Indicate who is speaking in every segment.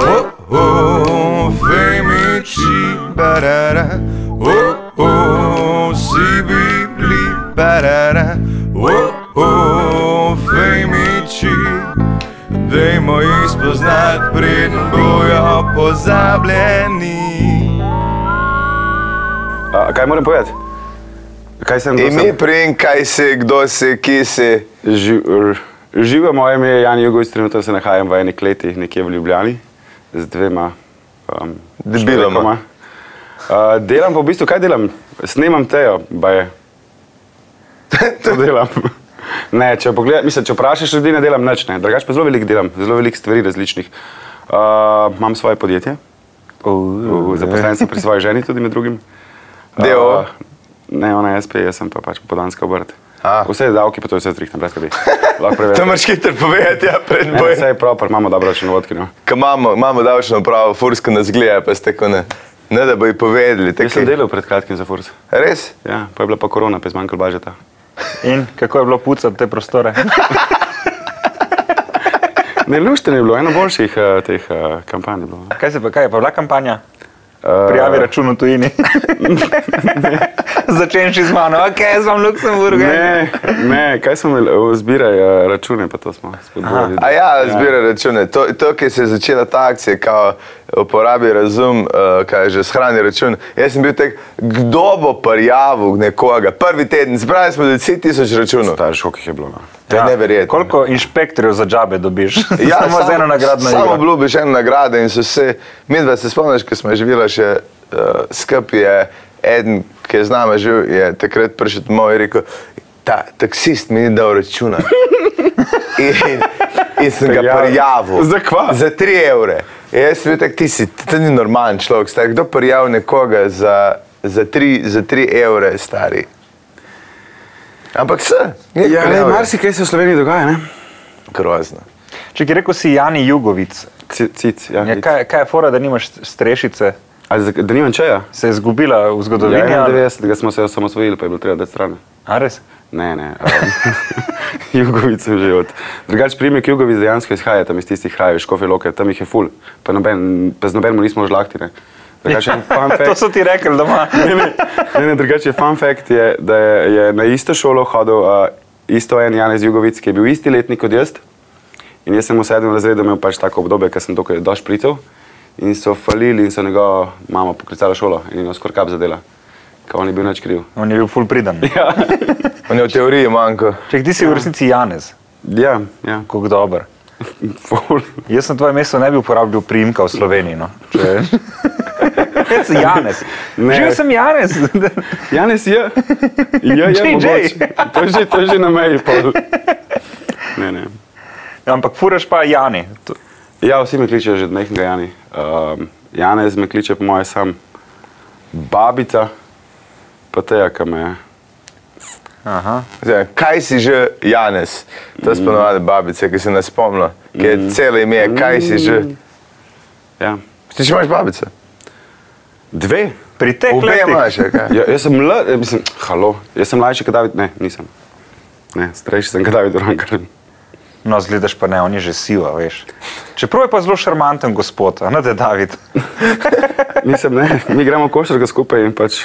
Speaker 1: Oh, barara. Oh, oh, si bibli, barara. Oh, oh, fejmiči. Dajmo jih spoznati, preden bojo pozabljeni.
Speaker 2: A, kaj moram povedati? Kaj sem kdo
Speaker 1: Ime,
Speaker 2: sem?
Speaker 1: prim, kaj si, kdo si, ki si.
Speaker 2: Ži, r- živo moje ime je Jan Jugovič, trenutno se nahajam v eni kleti nekje v Ljubljani z dvema um,
Speaker 1: Debiloma.
Speaker 2: Uh, delam pa v bistvu, kaj delam? Snemam tejo, baje. To delam. Ne, če, pogleda, mislim, če vprašaš ljudi, ne delam nič, ne. drugače pa zelo veliko delam, zelo veliko stvari različnih. Uh, imam svoje podjetje, uh, zaposlen sem pri svoji ženi tudi med drugim.
Speaker 1: D.O.O.?
Speaker 2: Uh, ne, ona je SP, jaz sem pa pač podanska obrt.
Speaker 1: A.
Speaker 2: Vse je davki, pa to je vse strihtam, brez skrbi. Lahko preverite.
Speaker 1: To moraš hitro povedati, ja, pred
Speaker 2: Ne,
Speaker 1: bojem.
Speaker 2: Vse je prav, imamo dobro računovodkinjo.
Speaker 1: Ko imamo, imamo davčno pravo, furska nas gleda, pa ste tako ne. Ne da bi povedali,
Speaker 2: Jaz
Speaker 1: tako
Speaker 2: sem delal pred kratkim za Furs.
Speaker 1: Res?
Speaker 2: Ja, pa je bila pa korona, pa je zmanjkalo bažeta.
Speaker 3: In kako je bilo pucati te prostore?
Speaker 2: Ne, lušte je bilo, eno boljših uh, teh uh, kampanj je bilo. Eh,
Speaker 3: Kaj, se, pa- kaj je pa bila kampanja? Eh,
Speaker 1: Eh.
Speaker 3: Prijavi račun v tujini. Začenši z mano, ok, jaz sem Luksemburg.
Speaker 2: Ne, ne, kaj smo imeli, zbiraj eh, račune, pa to smo spodbujali.
Speaker 1: A ja, zbira račune. To, to ki se je začela ta akcija, kao uporabi razum, uh, kaj je že shrani račun. Jaz sem bil tak, kdo bo prijavil nekoga. Prvi teden zbrali smo 10 tisoč računov.
Speaker 2: Ta šok jih je bilo. no.
Speaker 1: To je neverjetno.
Speaker 3: Ja.
Speaker 1: Ja,
Speaker 3: Koliko inšpektorjev za džabe dobiš? samo z Ja, eno nagradno
Speaker 1: Samo
Speaker 3: igro.
Speaker 1: obljubiš eno nagrado in so vse, mi dva se spomniš, ko smo živela še uh, skupaj, je eden, ki je z nami živel, je takrat prišel domov in rekel, ta taksist mi ni dal računa. in, in sem ga
Speaker 2: Prijavil.
Speaker 1: prijavil.
Speaker 2: Za kva?
Speaker 1: Za 3 evre. In jaz sem bil tak, ti si, ti ni normalen človek, star. kdo prijavi nekoga za, za, 3, za 3 evre, stari. Ampak se, ne,
Speaker 2: Ja, ne, marsikaj se v Sloveniji dogaja, ne?
Speaker 1: grozno.
Speaker 3: Če ti rekel si Jani Jugovic,
Speaker 2: Ci- Cic, ja.
Speaker 3: je, kaj, kaj je fora, da nimaš strešice,
Speaker 2: Ali za- da nimam čaja?
Speaker 3: se je izgubila v
Speaker 2: Ja,
Speaker 3: zgodovini? ali-
Speaker 2: 91 smo se osamosvojili, pa je bilo treba dati stran.
Speaker 3: A res?
Speaker 2: Ne, ne. Um, Jugovic sem že od. Drugač primek Jugovic dejansko izhaja tam iz tistih krajev, škofe loke, tam jih je ful. Pa, noben, pa z nobenemu nismo žlahti, ne. Drugače, fun fact.
Speaker 3: to so ti rekli doma.
Speaker 2: ne, ne, ne, ne, drugače, fun fact je, da je, je na isto šolo hodil uh, isto en Janez Jugovic, ki je bil isti letnik kot jaz. In jaz sem v sedmem razredu imel pač tako obdobje, ker sem dokaj doš pricev. In so falili in so njegovo mamo poklicali v šolo in je skorkap zadela. Ker on je bil nič kriv.
Speaker 3: On je bil full priden.
Speaker 2: Ja,
Speaker 1: On je v teoriji manjko.
Speaker 3: Če ti si v resnici Janez,
Speaker 2: ja, ja.
Speaker 3: kako dober.
Speaker 2: Ful.
Speaker 3: Jaz na tvojem mestu ne bi uporabljal primka v Sloveniji. No. Če... Jaz sem Janez.
Speaker 2: Ne.
Speaker 3: Živel sem Janez.
Speaker 2: Janez je, je, je
Speaker 3: JJ.
Speaker 2: mogoče. To je že, to je že na meji. Pol. Ne, ne.
Speaker 3: Ampak furaš pa Jani. To-
Speaker 2: Ja, vsi me kličejo že od nekega Jani. Um, Janez me kliče po moje sam babica, pa teja, ki me je.
Speaker 3: Aha.
Speaker 1: Zdaj, kaj si že Janez, to je
Speaker 2: Mm.
Speaker 1: sponovane babice, ki se ne spomnim, ki je celo ime, kaj si že.
Speaker 2: Mm. Ja.
Speaker 1: Ti še imaš babice?
Speaker 2: Dve?
Speaker 3: Pri teh
Speaker 1: Obe
Speaker 3: letih.
Speaker 1: imaš, ja, kaj?
Speaker 2: Ja, jaz sem mla, eh, mislim, halo, jaz sem mlajši kot David, ne, nisem. Ne, starejši sem kot David Rankar.
Speaker 3: No, zgledaš pa ne, on je že siva, veš. Čeprav je pa zelo šarmanten gospod, a ne da je David.
Speaker 2: Nisem, ne, mi gremo košarka skupaj in pač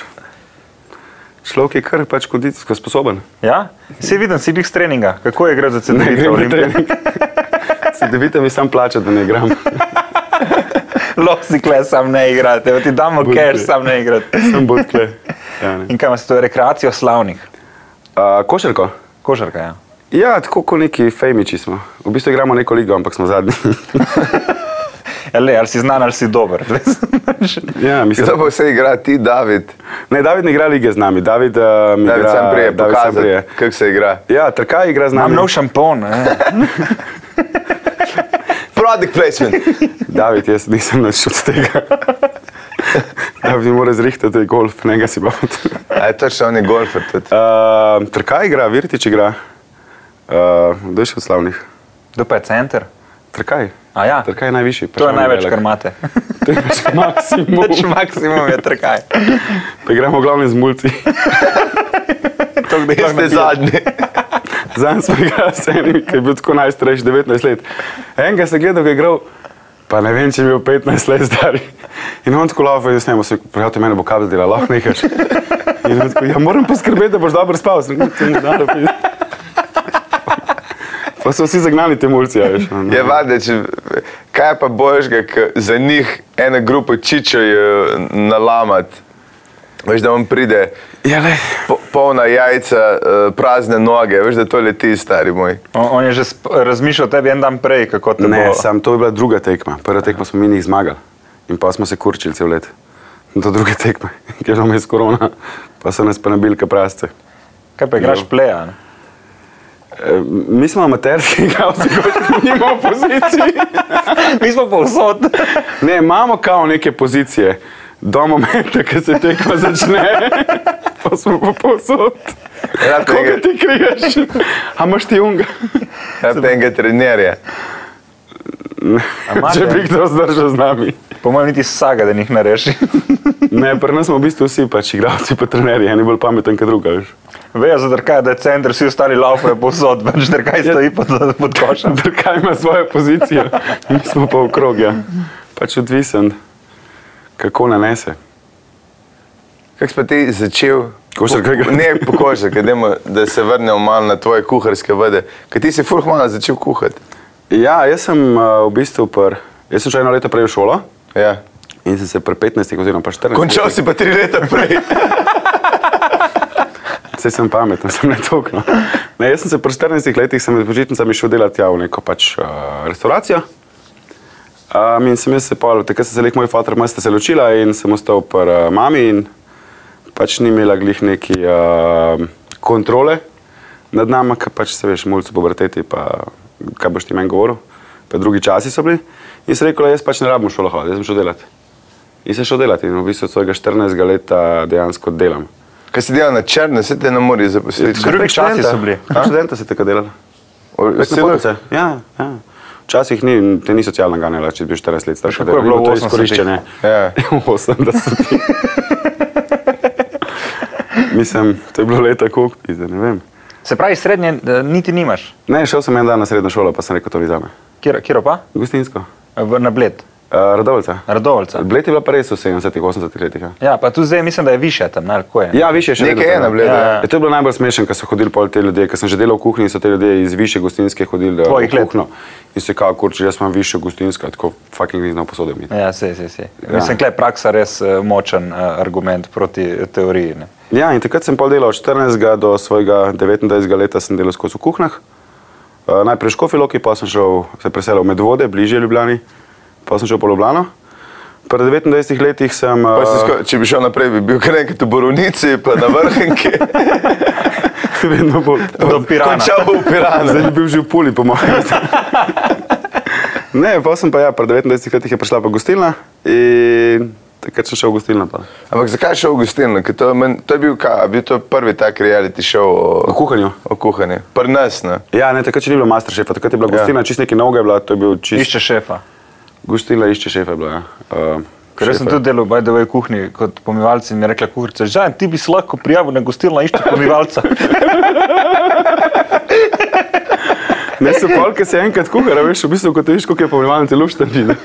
Speaker 2: človek je kar pač kondicijsko sposoben.
Speaker 3: Ja? Si videl, si bil s treninga, kako je igral za
Speaker 2: Ne
Speaker 3: CD-vite
Speaker 2: grem na
Speaker 3: olimpije.
Speaker 2: trening. Sedevite mi sam plača, da ne igram.
Speaker 3: Losi kle sam ne igrate, evo ti damo
Speaker 2: Budi.
Speaker 3: cash, sam ne igrate.
Speaker 2: Sem bolj kle. Ja, ne.
Speaker 3: In kaj imaš, to je rekreacijo slavnih.
Speaker 2: A, košarko?
Speaker 3: Košarka, ja.
Speaker 2: Ja, tako kot neki fejmiči smo. V bistvu igramo neko ligo, ampak smo zadnji.
Speaker 3: Ja, le, ali si znan, ali si dober.
Speaker 2: ja, mislim,
Speaker 1: Kdo pa vse igra, ti, David?
Speaker 2: ne, David ne igra lige z nami. David, uh,
Speaker 1: David
Speaker 2: igra,
Speaker 1: sam prije,
Speaker 2: David sam
Speaker 1: pokazal,
Speaker 2: prije.
Speaker 1: kako se igra.
Speaker 2: Ja, trka igra z
Speaker 3: Imam
Speaker 2: nami.
Speaker 3: nov šampon. Eh.
Speaker 1: Product placement.
Speaker 2: David, jaz nisem nič od tega. David mi mora zrihtati golf, ne ga si baviti.
Speaker 1: A je točno, on je golfer tudi.
Speaker 2: Uh, trka igra, Virtič igra. Uh, Kdo je še od slavnih?
Speaker 3: Kdo pa je center?
Speaker 2: Trkaj.
Speaker 3: A ja.
Speaker 2: Trkaj je najvišji.
Speaker 3: To je
Speaker 2: pač
Speaker 3: največ,
Speaker 2: velik.
Speaker 3: kar imate.
Speaker 2: To je pač maksimum.
Speaker 3: Več maksimum je trkaj.
Speaker 2: Pa igramo glavno z mulci.
Speaker 1: Vi ste zadnji.
Speaker 2: Zanj smo igrali s enim, ki je bil tako najstarejši, 19 let. Enega sem gledal, ki je igral, pa Pa ne vem, če je bil 15 let star. In on tako lava, jaz ne morem, prijatelj, mene bo kabel delal, lahko nekaj. In on tako, ja moram poskrbeti, da boš dobro spal, sem kot ti dal. Pa so vsi zagnali te mulci, a veš. no.
Speaker 1: Je vade, če, kaj pa bojiš, da za njih ena grupa čičejo nalamat. Veš, da vam pride
Speaker 2: Ja, le.
Speaker 1: po, polna jajca, eh, prazne noge, veš, da to leti, stari moj.
Speaker 3: On, on je že sp- razmišljal o tebi en dan prej, kako te
Speaker 2: Ne,
Speaker 3: bo.
Speaker 2: sam to je bila druga tekma. Prva tekma smo mi njih zmagali in pa smo se kurčili cel let. Do druge tekme, ker nam je s korona, pa so nas pa nabil kaprasce.
Speaker 3: Kaj pa igraš pleja? ne?
Speaker 2: E, mi smo amaterski igralci, kot nima opoziciji.
Speaker 3: Mi smo povsod.
Speaker 2: Ne, imamo kao neke pozicije. Do momenta, ko se tekma začne, pa smo pa povsod.
Speaker 1: Rad
Speaker 2: Koga
Speaker 1: tega,
Speaker 2: ti kriješ? A imaš ti unga?
Speaker 1: rad Ja, tega trenerja.
Speaker 3: imate?
Speaker 2: Če bi kdo zdržal z nami.
Speaker 3: Po mojem, niti saga, da jih ne reši.
Speaker 2: Ne, pri nas smo v bistvu vsi pač igralci, pa trenerji, en je bolj pameten, kot druga. Veš.
Speaker 3: Vejo za drkaj, da je center, vsi ostali laufajo povsod, pač drkaj stoji pod, pod košem.
Speaker 2: Drkaj ima svojo pozicijo, mi smo pa okrog, ja. Pač odvisen, kako nanese.
Speaker 1: Kako si pa ti začel?
Speaker 2: Košarko
Speaker 1: Po-
Speaker 2: igrati.
Speaker 1: Ne, pokošar, dajmo, da se vrnemo malo na tvoje kuharske vode. Kaj ti si furh malo začel kuhati?
Speaker 2: Ja, jaz sem uh, v bistvu pr... Jaz sem šel eno leto prej v šolo
Speaker 1: Ja.
Speaker 2: in sem se pri 15 oziroma pa 14.
Speaker 1: Končal si pa tri leta prej.
Speaker 2: Vse sem pameten, sem ne tokno. Ne, jaz sem se pri 14 letih sem med počitnicami šel delati ja, v neko pač uh, restauracijo. Um, in sem jaz se pol, takrat sem se leh moj fater mesta se ločila in sem ostal pri uh, mami in pač ni imela glih neki uh, kontrole nad nami, ker pač se veš, mulci pobrteti, pa kaj boš ti meni govoril. Pa drugi časi so bili in sem rekel, jaz pač ne rabim v šolo hoditi, jaz sem šel delati. In sem šel delati in v bistvu od svojega 14 leta dejansko delam.
Speaker 1: Kaj si delal na črne, se te ne more zaposliti.
Speaker 3: Drugi časi so bili.
Speaker 2: Kot študenta se tako delala.
Speaker 1: Celo-
Speaker 2: Ja, ja. Včasih ni, te ni socialna ganjala, če bi bil 40 let star.
Speaker 3: kako je bilo v 80-ih?
Speaker 2: izkoriščanje?
Speaker 1: Ja.
Speaker 2: 80. Mislim, to je bilo leta koliko, zdaj ne vem.
Speaker 3: Se pravi, srednje eh, niti nimaš.
Speaker 2: Ne, šel sem en dan na srednjo šolo, pa sem rekel, to ni za me.
Speaker 3: Kjer, kjer pa? Eh,
Speaker 2: Gostinsko.
Speaker 3: V- Na bled,
Speaker 2: Uh, Radovljica.
Speaker 3: Radovljica.
Speaker 2: Bled je bila pa res v 70-ih, 80-ih letih. Ja.
Speaker 3: Ja, pa tu zdaj mislim, da je više tam, ali kako je.
Speaker 2: Ja, više je še
Speaker 1: Nekaj
Speaker 2: vedno
Speaker 1: je
Speaker 2: tam,
Speaker 1: na Bledu,
Speaker 2: Ja.
Speaker 3: ja.
Speaker 2: Ja, to je bilo najbolj smešno, ker so hodili pol te ljudje, ker sem že delal v kuhinji, so te ljudje iz više gostinske hodili eh,
Speaker 3: Tvojih
Speaker 2: v
Speaker 3: let.
Speaker 2: kuhno. In se kao, kurče, jaz imam više gostinska, tako fucking nisem posodil. Ja.
Speaker 3: Ja, se, se, se.
Speaker 2: Ja.
Speaker 3: Mislim, da je praksa res eh, močen eh, argument proti eh, teoriji. Ne?
Speaker 2: ja, in takrat sem pol delal od 14 do svojega 29 leta, sem delal skozi v kuhnah. Uh, najprej v Škofi Loki, pa sem šel, se preselil med vode, bližje Ljubljani, pa sem šel po Ljubljano. Pri 29 letih sem...
Speaker 1: Pa si
Speaker 2: eh,
Speaker 1: sko- Če bi šel naprej, bi bil kar enkrat v borovnici, pa na vrhunki.
Speaker 2: vedno bolj...
Speaker 3: Do Pirana.
Speaker 1: Končal v Piranu.
Speaker 2: Zdaj bi bil že v puli, po mojem. ne, pa sem pa ja, pred 29 leti je prišla pa gostilna in takrat sem šel v gostilno. Pa.
Speaker 1: Ampak zakaj šel v gostilno? Ker To, je men- to je bil, ka, bil to prvi tak reality show
Speaker 2: O
Speaker 1: o,
Speaker 2: kuhanju.
Speaker 1: o kuhanju. Pri nas, ne?
Speaker 2: Ja, ne, takrat še ni bilo masterchefa, takrat je bila gostilna, ja. čist neki novega je bila, to je bil čist...
Speaker 3: Išče šefa.
Speaker 2: Gostilna išče šefa je bila, ja. Uh,
Speaker 3: Ker jaz sem tudi delal v BDW kuhinji kot pomivalec in mi je rekla kuharica, žan, ti bi se lahko prijavil na gostilno išče pomivalca.
Speaker 2: Ne, se pol, ker se enkrat kuhara, veš, v bistvu, ko te viš, koliko je pomemben ti lušten vin.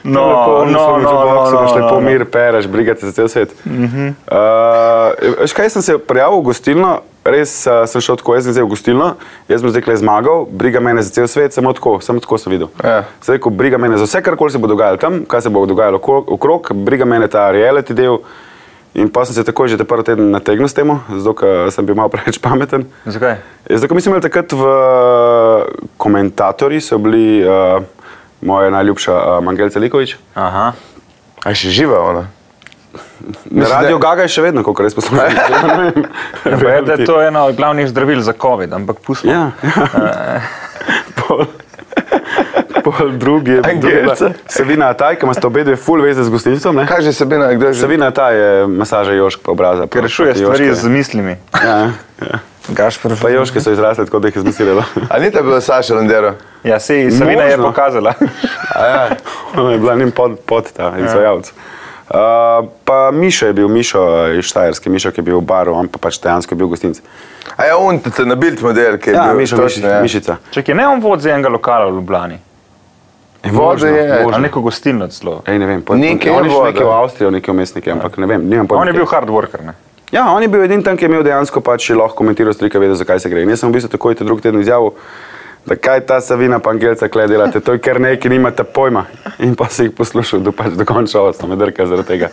Speaker 3: No, no, no,
Speaker 2: no,
Speaker 3: no, no,
Speaker 2: no.
Speaker 3: no. Mhm.
Speaker 2: Pomir, pereš, brigate za cel svet. Mm -hmm. uh, veš kaj, sem se prijavil v gostilno, res uh, sem šel tako, jaz sem vzel gostilno, jaz sem zdaj zmagal, briga mene za cel svet, samo tako, samo tako sem videl.
Speaker 1: Ja.
Speaker 2: Zdaj, ko briga mene za vse, kar koli se bo dogajalo tam, kaj se bo dogajalo okro- okrog, briga mene ta reality del. In pa sem se takoj že ta prvi teden nategnil s tem, zato ker sem bil malo preveč pameten.
Speaker 3: Zakaj?
Speaker 2: Eh, Zdaj, ko mislim, da takrat v eh, komentatorji so bili uh, moja najljubša uh, Mangelca Likovič.
Speaker 3: Aha.
Speaker 1: A je še živa ona?
Speaker 2: Na
Speaker 1: Mislim, da-
Speaker 2: Radio Gaga je še vedno, koliko res poslušam. Ne vem.
Speaker 3: Ja, pa je, da je to eno od glavnih zdravil za COVID, ampak pustimo.
Speaker 2: Ja. Pol- Pol drugi je bil
Speaker 1: Angelca.
Speaker 2: Savina Ataj, ki ima sta obe dve full veze z gostinstvom. ne?
Speaker 1: Kaj že Sabina, kdo je že?
Speaker 2: Savina Ataj je masaža Jošk obraza.
Speaker 3: Ker rešuje stvari z mislimi.
Speaker 2: Ja, ja.
Speaker 3: Gašpor.
Speaker 2: Pa Joške so izrasle tako, da jih je zmislila.
Speaker 1: A ni ta bila Saša Lendero?
Speaker 3: Ja, se Savina je
Speaker 2: Možno.
Speaker 3: pokazala.
Speaker 1: Ja.
Speaker 2: Ona je bila njim pod, pod ta izvajalec. Uh, pa Mišo je bil, Mišo eh, iz Štajerske, Mišo, ki je bil v baru, on pa pač dejansko je bil gostinc.
Speaker 1: A ja, on te na build model, ki je
Speaker 2: Ja,
Speaker 1: bil
Speaker 2: Mišo,
Speaker 1: točno,
Speaker 2: Miši,
Speaker 1: ja.
Speaker 2: Mišica.
Speaker 3: Čekaj, ne on vodi enega lokala v Ljubljani.
Speaker 1: E, Voda je.
Speaker 2: možno. Ja,
Speaker 3: Ali neko gostilno celo.
Speaker 2: Ej, ne vem, po,
Speaker 1: Nekaj je
Speaker 2: on je šel
Speaker 1: voda. Ja.
Speaker 2: nekje v Avstrijo, nekje vmes nekje, ampak ne vem, nimam pojma.
Speaker 3: On je
Speaker 2: kje.
Speaker 3: bil hard worker, ne?
Speaker 2: Ja, on je bil edini tam, ki je imel dejansko pač lahko komentiral strika, vedel, zakaj se gre. In jaz sem v bistvu takoj ta drugi teden izjavil, da kaj ta Savina pa Angelca kle delate, to je kar nekaj, nimate pojma. In pa si jih poslušal, do pač do konca ostalo me drka zaradi tega.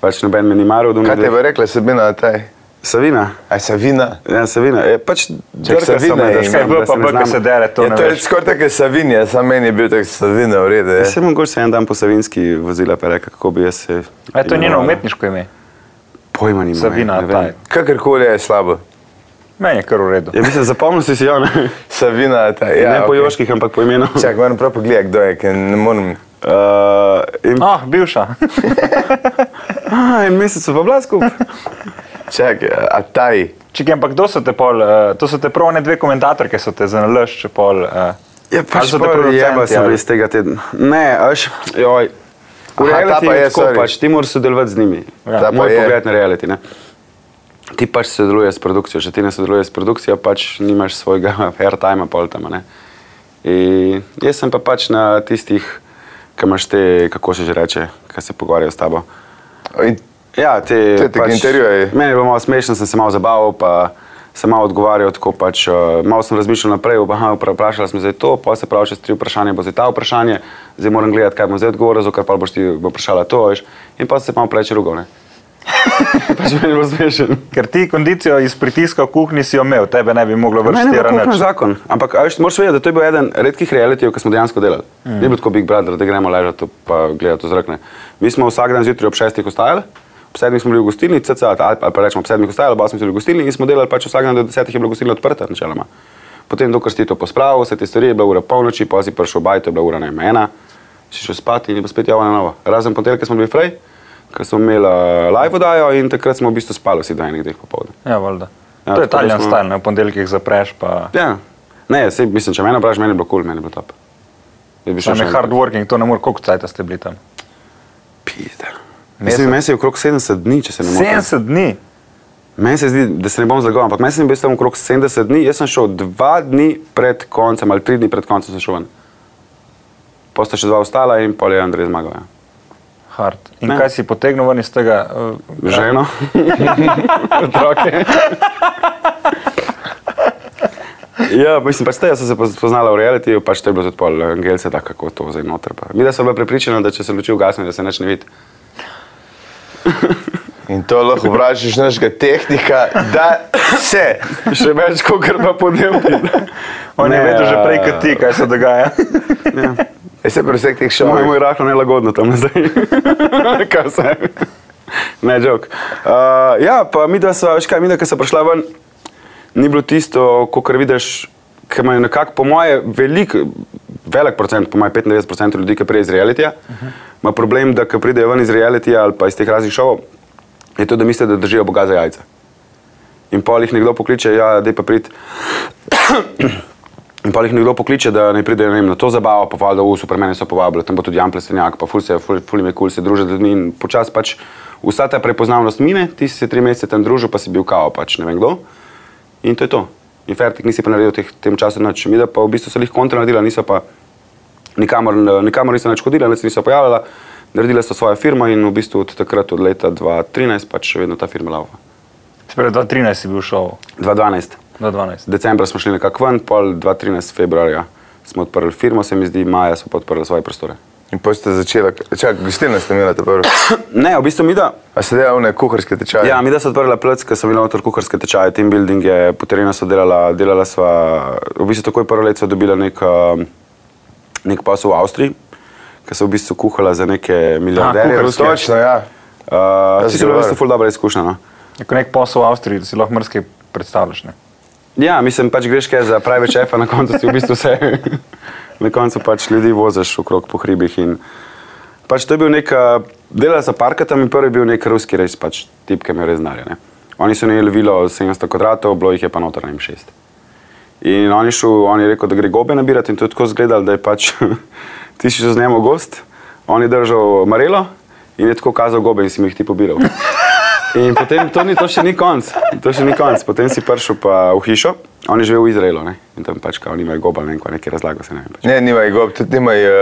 Speaker 2: Pač noben me ni maral,
Speaker 1: Kaj te
Speaker 2: domnevam.
Speaker 1: bo rekla Sabina, taj?
Speaker 2: Savina.
Speaker 1: Aj Savina.
Speaker 2: Ja, Savina. Je, pač drka
Speaker 1: Savina
Speaker 2: Savina,
Speaker 1: je
Speaker 2: da
Speaker 1: ime.
Speaker 2: se
Speaker 3: Vse
Speaker 1: Vem,
Speaker 3: B
Speaker 2: Ja, da se
Speaker 3: pa B,
Speaker 2: ne
Speaker 3: ki se
Speaker 2: znam.
Speaker 3: dere, to
Speaker 1: Ja,
Speaker 3: ne
Speaker 1: to je
Speaker 3: veš.
Speaker 1: skoraj tako kot Savinja, samo meni je bil tak Savina, v redu ja. je.
Speaker 2: Se Ja, mogoče en dan po Savinski vozila pa reka, kako bi jaz se...
Speaker 3: A E, to je njeno
Speaker 2: imenovala.
Speaker 3: umetniško ime.
Speaker 2: Pojma nimam.
Speaker 3: Savina,
Speaker 2: ne vem.
Speaker 3: taj.
Speaker 1: Kakorkoli je slabo.
Speaker 3: Meni je kar v redu.
Speaker 2: Ja, mislim, zapomnil si si jo, ne?
Speaker 1: Savina, taj.
Speaker 2: Ja,
Speaker 1: Ja,
Speaker 2: ne okay. po
Speaker 1: okej.
Speaker 2: Joških, ampak po imenu.
Speaker 1: Čak, moram prav pogledati, kdo je, ker ne morem.
Speaker 2: Uh, in,
Speaker 3: Ah, bivša.
Speaker 2: a, en mesec so pa bila skupaj.
Speaker 1: Čak, a taj.
Speaker 3: Čekaj, ampak kdo so te pol, uh, to so te prav ne dve komentatorke, so te zanalaš, če pol. Uh,
Speaker 2: Ja,
Speaker 3: Ali so te
Speaker 2: pol
Speaker 3: producenti,
Speaker 2: jeba sem
Speaker 3: ali?
Speaker 2: iz tega tedna. Ne, až, joj.
Speaker 1: Aha, ta
Speaker 2: V reality
Speaker 1: pa
Speaker 2: je
Speaker 1: je,
Speaker 2: tako,
Speaker 1: sorry.
Speaker 2: pač ti moraš sodelovati z njimi.
Speaker 1: Ta pa
Speaker 2: Ja. Moj
Speaker 1: je.
Speaker 2: pogled na reality, ne. Ti pač sodeluješ s produkcijo, če ti ne sodeluješ s produkcijo, pač nimaš svojega airtima pol tam, a ne. In jaz sem pa pač na tistih, ki imaš te, kako se že reče, ki se pogovarjajo s tabo.
Speaker 1: In
Speaker 2: Ja, te,
Speaker 1: Te- te intervjuje.
Speaker 2: Meni je bilo malo smešno, sem se malo zabaval, pa sem malo odgovarjal tako pač, eh, malo sem razmišljal naprej, aha, vpra- vprašala sem zdaj to, pa se pravi, čez tri vprašanja bo zdaj ta vprašanje, zdaj moram gledati, kaj bom zdaj odgovoril, zato ker pa boš ti bo vprašala to, veš, in pa se malo preveč rugal, ne. pač meni je bilo smešen.
Speaker 3: ker ti kondicijo iz pritiska v kuhinji si jo imel, tebe ne bi moglo
Speaker 2: Meni je bilo kuhno
Speaker 3: vrštirati.
Speaker 2: zakon, ampak a veš, moraš vedeti, da to je bil eden redkih realityjev, ki smo dejansko delali. Mm. Ni bilo tako Big Brother, da gremo ležati pa gledati v zrak. Ne. Mi smo vsak dan zjutraj ob šestih ostajali, ob sedmih smo bili v gostilni, cca, ali, pa- ali pa rečemo ob sedmih ostajali, ob osmih smo bili v gostilni in smo delali pač vsak dan do desetih je bila gostilna odprta načeloma. Potem, dokler si ti to pospravil, vse te stvari je bila ura polnoči, pa si prišel v bajto, je bila ura ne vem, ena, si šel spat in je bilo spet javno na novo. Razen ponedeljka smo bili fraj, ker smo imeli eh, live oddajo in takrat smo v bistvu spali vsi do enih dveh popovdne.
Speaker 3: Ja, valjda.
Speaker 2: Ja,
Speaker 3: Ja, to je
Speaker 2: tako da
Speaker 3: italijan
Speaker 2: smo-
Speaker 3: stal, na ponedeljkih zapreš, pa
Speaker 2: Ja, ne, sej, mislim, če me vprašaš, meni je bilo kul, cool, meni je bilo top. Jaz bi šel
Speaker 3: tam je
Speaker 2: Ja, še
Speaker 3: hard
Speaker 2: enkrat.
Speaker 3: working, to ne more, koliko cajta ste bili tam.
Speaker 2: Pizda.
Speaker 3: Mesec.
Speaker 2: Mislim, meni se je okrog 70 dni, če se ne motim.
Speaker 3: 70 dni.
Speaker 2: Meni se zdi, da se ne bom zagovarjal, ampak meni se je bilo tam okrog 70 dni. Jaz sem šel dva dni pred koncem ali tri dni pred koncem sem šel ven. Posta še dva ostala in pol je Andrej zmagal. Ja.
Speaker 3: Hard. In
Speaker 2: Ne.
Speaker 3: kaj si potegnil ven iz tega? Uh,
Speaker 2: Ženo, otroke. Ja, mislim, pač tega so se poz- poznala v realitiju, pač to je bilo tudi pol angelce, tako kako to zdaj noter. Pa. Mi da so bila prepričana, da če se luči ugasne, da se nič ne vidi.
Speaker 1: In to lahko vprašaš našega tehnika, da se.
Speaker 2: Še več, kot pa podnebje.
Speaker 3: on je vedel že prej kot ti, kaj se dogaja.
Speaker 1: E se pri vseh teh
Speaker 2: Če moj
Speaker 1: šovih.
Speaker 2: moj rahlo nelagodno tam zdaj. Kaj se? Ne, žog. Uh, ja, pa mi da so, veš kaj, mi da, ko so prišla ven, ni bilo tisto, ko kar vidiš, ki ima nekako, po moje, velik, velik procent, po moje 95% ljudi, ki pride iz realitija, ima uh -huh. problem, da ko pridejo ven iz realitija ali pa iz teh raznih šovov, je to, da mislijo, da držijo Boga za jajca. In pol jih nekdo pokliče, ja, da je pa prid. In pa jih nekdo pokliče, da ne pridejo ne vem, na to zabavo, pa valjda v supermene so povabili, tam pa tudi Jan Plesenjak, pa ful se, ful, ful jim je kul, cool, se družijo z ljudmi in počasi pač vsa ta prepoznavnost mine, ti si se tri mesece tam družil, pa si bil kao pač ne vem kdo. In to je to. In fertik nisi pa naredil v teh, tem času nič. Mi da pa v bistvu so jih kontra naredila, niso pa nikamor, nikamor niso nič hodila, nič se niso pojavljala, naredila so svojo firmo in v bistvu od takrat, od leta 2013, pač še vedno ta firma lava.
Speaker 3: Sprej 2013 si bil v šovu,
Speaker 2: 2012.
Speaker 3: do 12.
Speaker 2: Decembra smo šli nekako ven, pol 2013 februarja smo odprli firmo, se mi zdi, maja so pa odprli svoje prostore.
Speaker 1: In potem ste začeli, čak, gostilna ste imeli ta prvi.
Speaker 2: Ne, v bistvu mi da.
Speaker 1: A ste delali one kuharske tečaje?
Speaker 2: Ja, mi da so odprla plec, ker sem bila notor kuharske tečaje, team building je, po terenu so delala, delala sva, v bistvu takoj prvo leto so dobila nek, um, nek posel v Avstriji, ker so v bistvu kuhala za neke milijarderje.
Speaker 1: Kuharske.
Speaker 2: ruske.
Speaker 1: Točno, ja. Ja,
Speaker 2: Uh, si bila v
Speaker 1: zgovoril.
Speaker 2: bistvu ful dobra izkušnja. No?
Speaker 3: Jako nek posel v Avstriji, da si lahko mrske predstavljaš. Ne?
Speaker 2: Ja, mislim, pač greš kaj za pravi šefa, na koncu si v bistvu vse. na koncu pač ljudi voziš okrog po hribih. In... Pač to je bil nek, a, delala za parketom in prvi je bil nek ruski reč, pač tip, ki me res znarijo. Oni so imeli vilo 700 kvadratov, bilo jih je pa noter na 6. In on je, šel, on je rekel, da gre gobe nabirati in to je tako zgledal, da je pač ti si šel z njim v gost, on je držal marelo in je tako kazal gobe in si mi jih ti pobiral. In potem to, ni, to še ni konc, to še ni konc. Potem si prišel pa v hišo, on je živel v Izraelu ne? in tam pač kao nimajo goba, ne vem, kaj, nekaj razlago se ne vem. Pač.
Speaker 1: Ne, nimaj gob, tudi nimaj. Uh,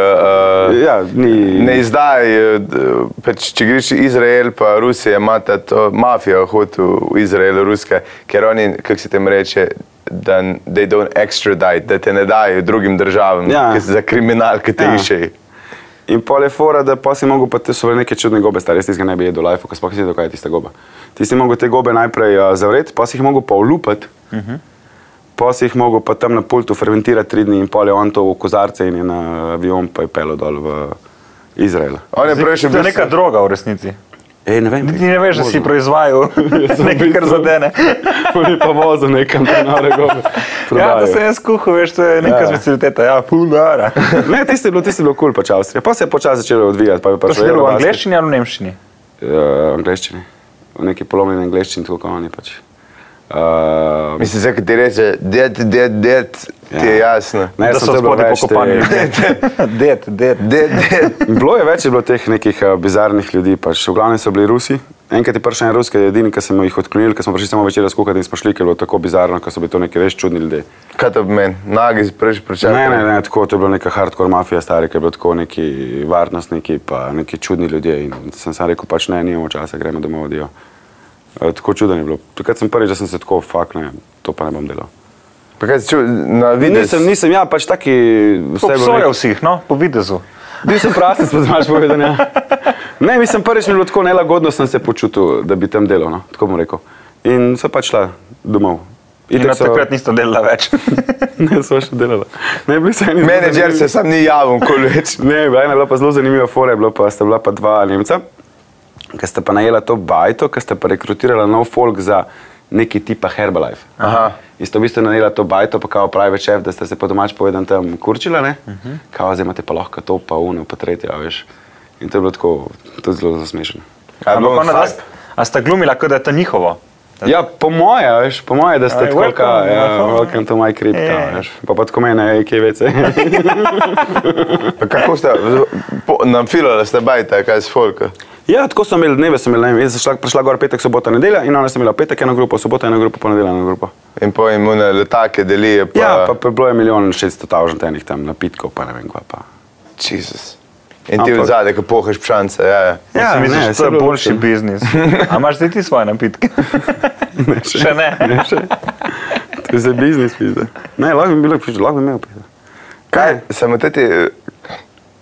Speaker 1: uh,
Speaker 2: Ja, ni,
Speaker 1: Ne izdaj, eh, d- pač, če greš Izrael, pa Rusija ima ta to mafijo hod v v Izraelu, ruska, ker oni, kako se tem reče, da n- they don't extradite, da te ne dajo drugim državam ja.
Speaker 2: Ja.
Speaker 1: za kriminal, ki te
Speaker 2: Ja.
Speaker 1: ja. iščejo.
Speaker 2: In pol je fora, da pa si mogel, pa te so bile neke čudne gobe, stari, jaz nisem ga ne bi jedel life, ko sploh si vedel, kaj je tista goba. Ti si mogel te gobe najprej uh, zavreti, pa si jih mogel pa olupati, uh -huh. pa si jih mogel pa tam na pultu fermentirati tri dni in pol je on to v kozarce in je na avion pa je pelo dol v Izrael.
Speaker 1: On je prej še
Speaker 3: To je
Speaker 1: bil
Speaker 3: neka droga v resnici.
Speaker 2: Ej, ne vem.
Speaker 3: Ti ne veš, da si proizvajal
Speaker 2: Ja,
Speaker 3: nekaj, kar zadene.
Speaker 2: Poli pa vozo nekam te nove gobe.
Speaker 3: Ja,
Speaker 2: prodajajo.
Speaker 3: to sem jaz kuhal, veš, to je neka
Speaker 2: Ja.
Speaker 3: specialiteta, ja, funara.
Speaker 2: Ne, tisti je bilo, tisti je bilo kul cool, pač Avstrija. Pa se je počasi začelo odvijati. Pa je
Speaker 3: To
Speaker 2: prišel
Speaker 3: si delal Pač v
Speaker 2: Eurobasket.
Speaker 3: angleščini ali v nemščini?
Speaker 2: uh, angleščini, v neki polomljeni angleščini, tako kot oni pač. Uh,
Speaker 1: Mislim, da ti reče, ded, ded, ded, ti je jasno.
Speaker 2: Ja. Ne,
Speaker 3: da
Speaker 2: sem
Speaker 3: so
Speaker 2: to bilo
Speaker 3: spodaj
Speaker 2: več te-
Speaker 3: pokopani. Det, det.
Speaker 1: Ded, ded.
Speaker 2: Bilo je več je bilo teh nekih uh, bizarnih ljudi, pač v glavnem so bili Rusi. Enkrat je prišel en Rus, ki je edini, ki smo jih odklonili, ker smo prišli samo večer skuhati in smo šli, ker je bilo tako bizarno, ker so bili to neki res čudni ljudje.
Speaker 1: Kaj to pomeni? Nagi si prej še prečakal.
Speaker 2: Ne, ne, ne, tako, to je bila neka hardcore mafija, stari, ki je bila tako neki varnostniki, pa neki čudni ljudje. In sem sam rekel, pač ne, nimamo časa, gremo domov, odijo. E, tako čudno je bilo. Takrat sem prvič, da sem se tako, fakt ne, to pa ne bom delal.
Speaker 1: Pa kaj si čutil na videu?
Speaker 2: Nisem, nisem, ja, pač taki vse
Speaker 3: Obsojal si jih, no, po videzu.
Speaker 2: Bil sem prasen, pa znaš povedati. Ja. Ne, mislim, prvič mi je bilo tako nelagodno, sem se počutil, da bi tam delal, no, tako bom rekel. In so pač šla domov.
Speaker 3: In
Speaker 2: Itak
Speaker 3: od takrat nista delala več.
Speaker 2: ne, so še delala. Ne, bili so eni. zelo
Speaker 1: Menedžer se
Speaker 2: zanimivi-
Speaker 1: sam ni javil, ko več.
Speaker 2: Ne, bila ena je bila pa zelo zanimiva fora, je bila pa, sta bila pa dva Nemca, ki sta pa najela to bajto, ki sta pa rekrutirala nov folk za neki tipa Herbalife.
Speaker 1: Aha.
Speaker 2: In sta v bistvu najela to bajto, pa kao pravi šef, da sta se po domač povedan tam kurčila, ne? Uh
Speaker 3: Mhm.
Speaker 2: -huh. Kao, zdaj imate pa lahko to, pa uno, pa tretje, a veš. In to je bilo tako, to je zelo zasmešno.
Speaker 1: A je bilo
Speaker 3: Ampak ona dva,
Speaker 1: fajn?
Speaker 3: a sta glumila, kot da je to njihovo.
Speaker 2: Ja, po moje, a veš, po moje, da ste
Speaker 3: Aj,
Speaker 2: tako, ka,
Speaker 3: welcome,
Speaker 2: ja,
Speaker 3: welcome.
Speaker 2: welcome to my crypto,
Speaker 3: Ja.
Speaker 2: yeah. veš. Pa pa tako mene, ej, kje vece.
Speaker 1: Pa Kako ste, nam filale ste bajta, kaj s folka?
Speaker 2: Ja, tako so imeli dneve, sem imel, ne vem, jaz sem šla, prišla gor petek, sobota, nedelja in ona sem imela petek eno grupo, sobota eno grupo, pa nedelja eno grupo.
Speaker 1: In po imune letake delijo. Pa...
Speaker 2: Ja, pa, pa bilo je milijon šeststo tavžant enih tam napitkov, pa ne vem kva pa.
Speaker 1: Jezus. In ti
Speaker 2: Ampak-
Speaker 1: od zadaj, ko pohaš pšance. Ja, ja.
Speaker 2: Ja,
Speaker 3: Ja,
Speaker 2: ne,
Speaker 3: misliš,
Speaker 2: saj
Speaker 3: da
Speaker 2: je
Speaker 3: je to
Speaker 2: bilo
Speaker 3: boljši
Speaker 2: luštno.
Speaker 3: biznis. A imaš zdaj ti svoje napitke?
Speaker 2: Ne,
Speaker 3: Še ne.
Speaker 2: Ne, še. To je za biznis, pizda. Ne, lahko bi bilo, pizda, lahko bi imel, pizda.
Speaker 1: Kaj, samo te ti,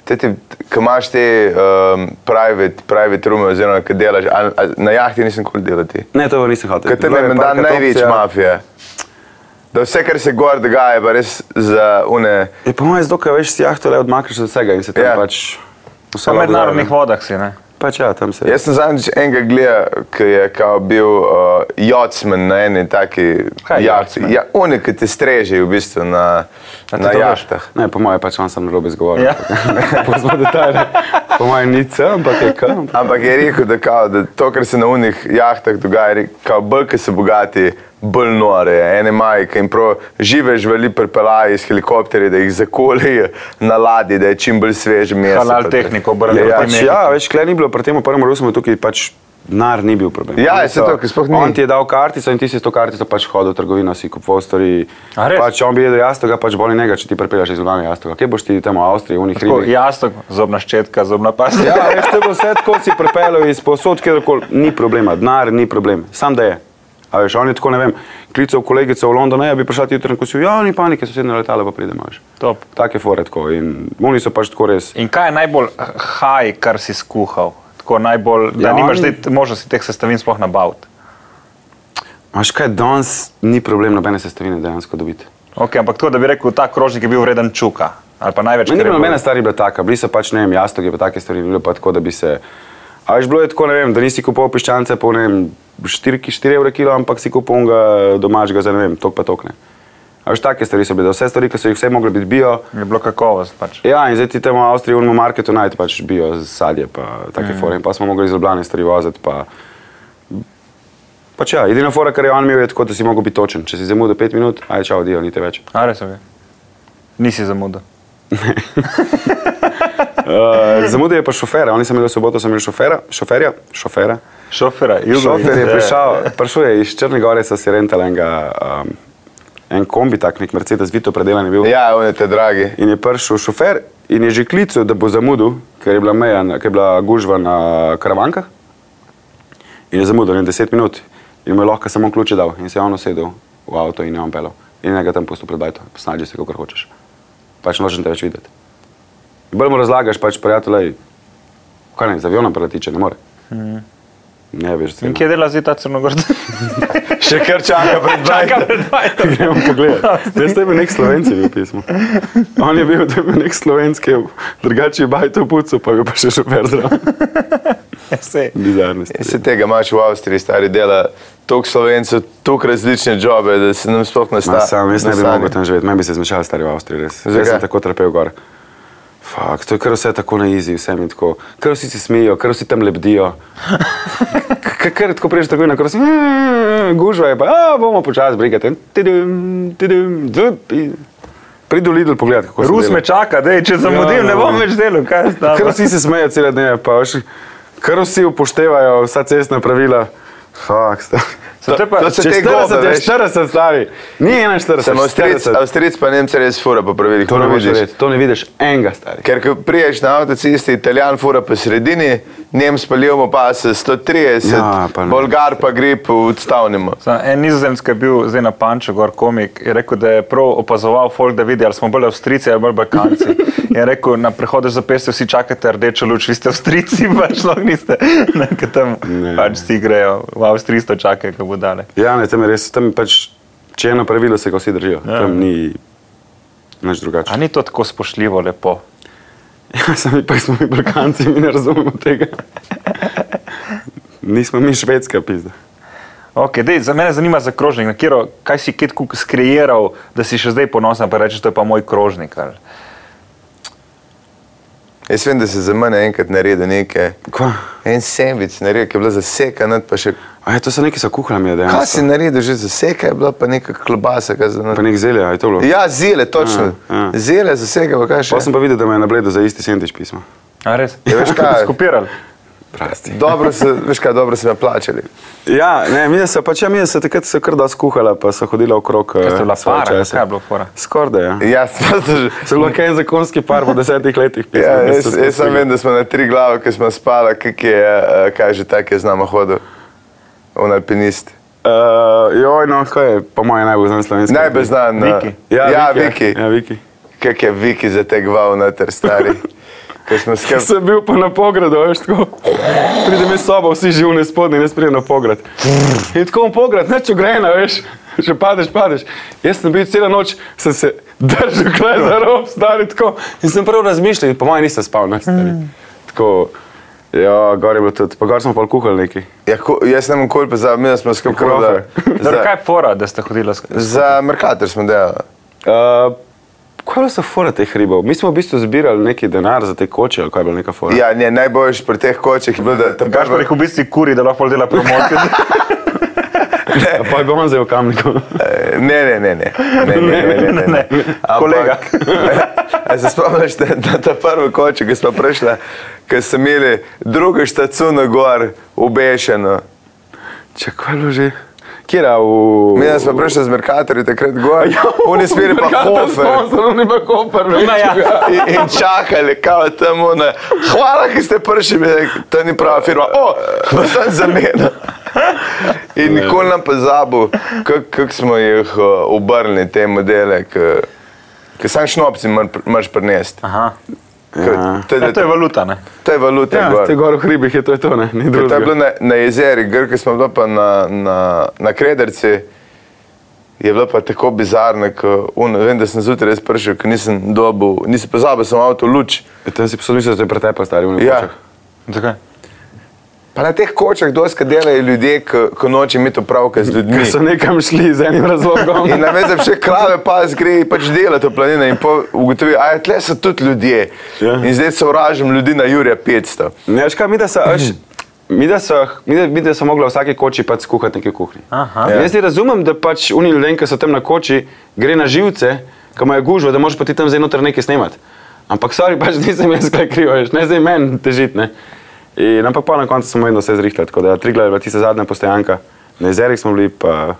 Speaker 1: te ti, ko imaš te um, private, private rume, oziroma ko delaš, a, a, na jahti nisem kul delati.
Speaker 2: Ne, to nisem hotel.
Speaker 1: Kaj te
Speaker 2: Bilo
Speaker 1: ne
Speaker 2: je ja.
Speaker 1: menda
Speaker 2: parkrat
Speaker 1: največ
Speaker 2: opcija.
Speaker 1: mafije? Da vse, kar se gor dogaja, je pa res za une.
Speaker 2: Je po mojem zdoka, veš, si jahto le odmakneš od vsega in se tam
Speaker 1: Ja.
Speaker 2: pač...
Speaker 3: Po
Speaker 2: lahko
Speaker 3: mednarodnih
Speaker 2: dogaja,
Speaker 3: vodah si, ne?
Speaker 2: ne. Pač ja, tam se...
Speaker 1: Jaz sem zadnjič enega gledal, ki je kao bil uh, jacmen na eni taki
Speaker 3: Kaj
Speaker 1: jahti.
Speaker 3: je yachtsman?
Speaker 1: Ja, oni, ki te strežejo v bistvu na,
Speaker 3: ti
Speaker 1: na
Speaker 3: to veš?
Speaker 1: jahtah.
Speaker 2: Ne, po mojem pač on sam narobe izgovoril.
Speaker 3: Ja.
Speaker 2: Pozmo detajle. Po mojem ni C, ampak je K. ampak-
Speaker 1: Ampak je rekel, da, kao, da to, kar se na unih jahtah dogaja, je rekel, kao bolj, ki so bogati, bolj nore. je. Ene majke in prav žive živali pripeljajo iz helikopterja, da jih zakoljejo na ladji, da je čim bolj svež meso. pa
Speaker 3: Halal
Speaker 1: to.
Speaker 3: tehniko, obrnil
Speaker 1: Ja,
Speaker 3: proti
Speaker 1: pač
Speaker 2: Pač,
Speaker 1: ja.
Speaker 2: ja, več kle ni bilo, pri tem prvem Rusu je tukaj pač denar ni bil problem.
Speaker 1: Ja,
Speaker 2: Oni
Speaker 1: saj
Speaker 2: so-
Speaker 1: to, ker sploh ni.
Speaker 2: On ti je dal kartico in ti si s to kartico pač hodil v trgovino, si kupoval stvari.
Speaker 3: A res?
Speaker 2: Pač on bi jedel jastoga, pač boli njega, če ti pripeljaš iz Ljubljana jastoga. Kje boš ti tam v Avstriji, v unih
Speaker 3: Tako,
Speaker 1: ja.
Speaker 2: ribih?
Speaker 3: jasno, zobna ščetka, zobna pasta.
Speaker 2: Ja, veš, te bo vse tako si pripeljal iz posod, kjerkoli, ni problema, denar ni problem, sam da je. A veš, on je tako, ne vem, klical kolegico v London, ja bi prišla ti jutri in kosil, ja, ni panike, sosednje letalo pa pridemo, veš.
Speaker 3: Top.
Speaker 2: Take fore tako in oni so pač tako res.
Speaker 3: In kaj je najbolj haj, kar si skuhal? Tako najbolj, da
Speaker 2: Ja,
Speaker 3: ja, nimaš
Speaker 2: oni-
Speaker 3: zdaj t- možnosti teh sestavin sploh nabaviti.
Speaker 2: Maš kaj, danes ni problem nobene sestavine dejansko dobiti.
Speaker 3: Okay, ampak tako, da bi rekel, ta krožnik je bil vreden čuka. Ali pa največ,
Speaker 2: Ne, ni
Speaker 3: kar je
Speaker 2: bilo
Speaker 3: bilo.
Speaker 2: nobene stvari bila taka, bili so pač, ne vem, jastogi pa take stvari, ni bilo pa tako, da bi se... A veš, bilo je tako, ne vem, da nisi kupoval piščance po, ne vem, 4, 4 evra kilo, ampak si kupoval ga domačega za, ne vem, tok pa tok ne. A veš, take stvari so bile, da vse stvari, ki so jih vse mogle biti bio,
Speaker 3: Je bilo kakovost. Pač.
Speaker 2: Ja, in zdaj ti tam v Avstriji, v marketu najdeš pač bio sadje, pa take mm. fore. In pa smo mogli iz Ljubljana stvari voziti. Pa... Pač ja, edina fora, kar je on imel, je tako, da si mogel biti točen. Če si zamudil 5 minut, aj čau, dio, ni te več.
Speaker 3: A res je. Nisi zamudil.
Speaker 2: Eh, Uh, zamudil je pa šofera, oni so imeli v soboto, so imeli šofera, šoferja, Ja. šofera.
Speaker 3: Šofera, Jugo.
Speaker 2: Šofer je prišel, prišel je iz Črne gore, so si rental enega, um, en kombi, tak nek Mercedes, vito predelan je bil.
Speaker 1: Ja, on je te dragi.
Speaker 2: In je prišel šofer in je že klical, da bo zamudil, ker je bila, meja, na- ker je bila gužva na karavankah. In je zamudil ne 10 minut in mu je lahko samo ključe dal in se je on usedel v avto in je on pelal. In je ga tam pustil pred bajto, snaži se, kako hočeš. Pač nočem te več videti. In bolj mu razlagaš, pač prijatelj, kaj ne, z avionom preletiče, ne more. Mm. Ne, veš,
Speaker 3: In kje dela zdaj ta Crnogorc?
Speaker 1: Še kar čaka pred
Speaker 3: Čaka
Speaker 1: bajtom.
Speaker 3: pred bajto.
Speaker 2: Gremo pogledat. Zdaj ste bil nek slovenci v pismu. On je bil, to je bil nek slovenc, ki je drugače bajto pucu, pa je bil pa še šofer zraven. Ja,
Speaker 3: Sej.
Speaker 2: Bizarno.
Speaker 1: Se tega imaš v Avstriji, stari dela, toliko slovencev, toliko različne jobe, da se nam sploh ne
Speaker 2: Ma,
Speaker 1: stane.
Speaker 2: sam jaz ne bi mogel tam živeti, meni bi se zmešali stari v Avstriji, res. Zdaj
Speaker 1: Zakaj?
Speaker 2: sem tako trpel gor. Fak, to je kar vse tako na izi, vse mi tako, kar vsi se smejijo, kar vsi tam lebdijo. K- k- Kar tako prejš tako in kar si, "Eh, gužva je pa, a bomo počasi brigati. Tidum, tidum, dvup in- Pridi v Lidl pogledat, kako se
Speaker 3: Rus
Speaker 2: dela.
Speaker 3: me čaka, dej, če zamudim,
Speaker 2: Ja,
Speaker 3: ne
Speaker 2: no.
Speaker 3: bom več delal, kaj
Speaker 2: Kar
Speaker 3: zdaj.
Speaker 2: vsi se smejijo cele dneve, pa veš, kar vsi upoštevajo vsa cestna pravila. Fak, sta-
Speaker 1: To-
Speaker 3: te pa-
Speaker 1: to se
Speaker 2: Če
Speaker 1: te
Speaker 2: 40
Speaker 1: gobe,
Speaker 2: je
Speaker 1: veš.
Speaker 2: 40 stari, ni 41,
Speaker 1: Sem Avstrijec,
Speaker 2: 40.
Speaker 1: Avstrijec pa Nemce res fura po pravilih,
Speaker 2: To
Speaker 1: ko
Speaker 2: ne,
Speaker 1: ne
Speaker 2: moreš
Speaker 1: vidiš.
Speaker 2: verjeti, to ne vidiš enega stari.
Speaker 1: Ker ko priješ na avtocesti, italijan fura po sredini, njem spalimo pa se 130,
Speaker 2: Ja,
Speaker 1: ja,
Speaker 2: pa
Speaker 1: pa
Speaker 2: ne.
Speaker 1: bolgar pa gre po odstavnemu.
Speaker 3: Sam, en nizozemski je bil zdaj na Panču, gor komik, je rekel, da je prav opazoval folk, da vidi, ali smo bolj avstrici ali bolj balkanci. Je rekel, na prehodu za peste vsi čakate rdečo luč, vi ste avstrici, pa šlo niste. Nekaj tam
Speaker 2: Ne.
Speaker 3: pač si grejo, v Avstriji sto čakajo, kako bo dale.
Speaker 2: Ja, ne, tam je res, tam pač, če je eno pravilo, se ga vsi držijo. Ja. Tam ni nič drugače.
Speaker 3: A ni to tako spoštljivo, lepo?
Speaker 2: Ja, sami pa smo mi Balkanci, mi ne razumemo tega. Nismo mi švedska pizda.
Speaker 3: Okay, dej, za mene zanima za krožnik, na katero, kaj si kje skreiral, da si še zdaj ponosen, pa rečeš, to je pa moj krožnik. Ali?
Speaker 1: Jaz vem, da se za mene enkrat naredi nekaj.
Speaker 2: Kva?
Speaker 1: En sandvič naredi, ki je bila zasekana, pa še
Speaker 2: A je to so neki so kuhali, da je.
Speaker 1: kaj si naredil, že zaseka je bila pa neka klobasa, kaj za
Speaker 2: Pa
Speaker 1: nas.
Speaker 2: nek zelje, a je to bilo?
Speaker 1: Ja, zile, točno.
Speaker 2: Ja, ja.
Speaker 1: Zile, zaseka pa kaj
Speaker 2: Pa
Speaker 1: še.
Speaker 2: sem pa videl, da me je na bledu za isti sendvič pismo.
Speaker 3: A res?
Speaker 1: Ja, veš kaj?
Speaker 3: Skopiral.
Speaker 2: Prasti.
Speaker 1: Dobro se, veš kaj, dobro se me plačali.
Speaker 2: Ja, ne, mi se pač, ja, mi se takrat so kar da skuhala, pa so hodila okrog. eh,
Speaker 3: Kaj ste bila para, kaj je bilo fora?
Speaker 2: Skorda, ja.
Speaker 1: Ja, pa se že.
Speaker 2: Se bilo kaj en zakonski par po desetih letih pismo.
Speaker 1: Ja,
Speaker 2: da
Speaker 1: jaz,
Speaker 2: so
Speaker 1: jaz sem
Speaker 2: skuhala.
Speaker 1: vem, da smo na tri glave, ki smo spali, kak je, eh, kaj že tako je z nama hodil, on alpinist.
Speaker 2: Uh, joj, no, kaj je, po mojem, najbolj znan slovenski.
Speaker 1: Najbolj znan. eh,
Speaker 3: Viki.
Speaker 2: Ja,
Speaker 1: Ja,
Speaker 2: Viki.
Speaker 1: Viki.
Speaker 2: Ja, ja, Viki.
Speaker 1: Kak je Viki zategval na ter stari. Ko smo
Speaker 2: Ker
Speaker 1: skrbeli.
Speaker 2: sem bil pa na pogradu, veš, tako. Pride mi soba, vsi živni spodnji, jaz pridem na pograd. In tako v pograd, neč ugrajena, veš, že padeš, padeš. Jaz sem bil celo noč, sem se držal kraj za rob, stari tako. In sem prav razmišljal, in po mojem nisem spal, ne stari. Tako, ja, gor je bilo tudi, pa gor smo pa kuhali neki.
Speaker 1: Ja, ko, jaz ne vem, koliko pozabil, mi smo skupaj
Speaker 2: Krofe.
Speaker 1: hodili.
Speaker 3: Zdaj, Torej,
Speaker 1: Za,
Speaker 3: kaj je fora, da ste hodili skozi?
Speaker 1: za Merkator smo delali.
Speaker 2: Uh, Kaj je bila so fora teh ribov? Mi smo v bistvu zbirali neki denar za te koče, ali kaj je bila neka fora?
Speaker 1: Ja, ne, najboljši pri teh kočih je bilo, da tam
Speaker 3: Kaš pa rekel, v bistvu kuri, da lahko pol dela promocijo.
Speaker 2: Ja, pa je bilo zdaj v kamniku.
Speaker 1: Ne, ne, ne, ne. ne, ne, ne, ne, ne, ne. Ampak-
Speaker 3: Kolega.
Speaker 1: A se spomniš, da na ta prvi koči, ki smo prišli, ki smo imeli drugo štacuno gor, ubešeno.
Speaker 2: Čakaj, loži. Kje je v...
Speaker 1: Mi smo prišli z Merkatorji takrat gor, oni smo imeli pa hofer.
Speaker 2: Oni pa hofer,
Speaker 3: Ma ja.
Speaker 1: In, in čakali, kao tam ona. Hvala, ki ste prišli, mi je rekel, to ni prava firma. O, pa sem zamenil. In nikoli nam pozabil, kako smo jih eh, obrnili, te modele, ki sam šnopci mor- moraš prinesti.
Speaker 3: Aha.
Speaker 2: Ja.
Speaker 1: To,
Speaker 3: Ja,
Speaker 1: je-
Speaker 3: to je valuta, ne?
Speaker 1: to je valuta.
Speaker 2: Ja,
Speaker 1: gor.
Speaker 2: ste gor v hribih, je to je to, ne? Ni
Speaker 1: Ker To je bilo
Speaker 2: drugega.
Speaker 1: na, na jezeri, Grki smo bili pa na, na, na Krederci. Je bilo pa tako bizarno, ko un, vem, da sem zjutraj res prišel, ker nisem dobil, nisem pozabil, sem avto luč.
Speaker 2: E, Tam si posod mislil, da te je pretepel stari v
Speaker 1: Ja.
Speaker 2: nekočah.
Speaker 3: Zakaj?
Speaker 1: E. Pa na teh kočah doska delajo ljudje, ko, ko noče imeti opravka z
Speaker 2: Ker
Speaker 1: ljudmi.
Speaker 2: so nekam šli z enim razlogom.
Speaker 1: In na vezem še krave, pa zgreji pač delati v planine in po- ugotovi, a je tle so tudi ljudje.
Speaker 2: Ja.
Speaker 1: In zdaj sovražim ljudi na Jurija 500.
Speaker 2: Ne, veš kaj, mi da so... Až, Mi da, so, mi, da, mi da so mogli v vsaki koči pač skuhati nekaj v kuhinji.
Speaker 3: Aha.
Speaker 2: Ja. Jaz ne razumem, da pač oni ljudje, ki so tam na koči, gre na živce, ki imajo gužvo, da moraš pa ti tam zdaj noter nekaj snemati. Ampak sorry, pač nisem jaz kaj kriv, veš, ne zdaj meni težiti. Ne. In ampak pa na koncu smo vedno vse zrihtali, tako da Trigla je bila tista zadnja postajanka, na jezerih smo bili pa...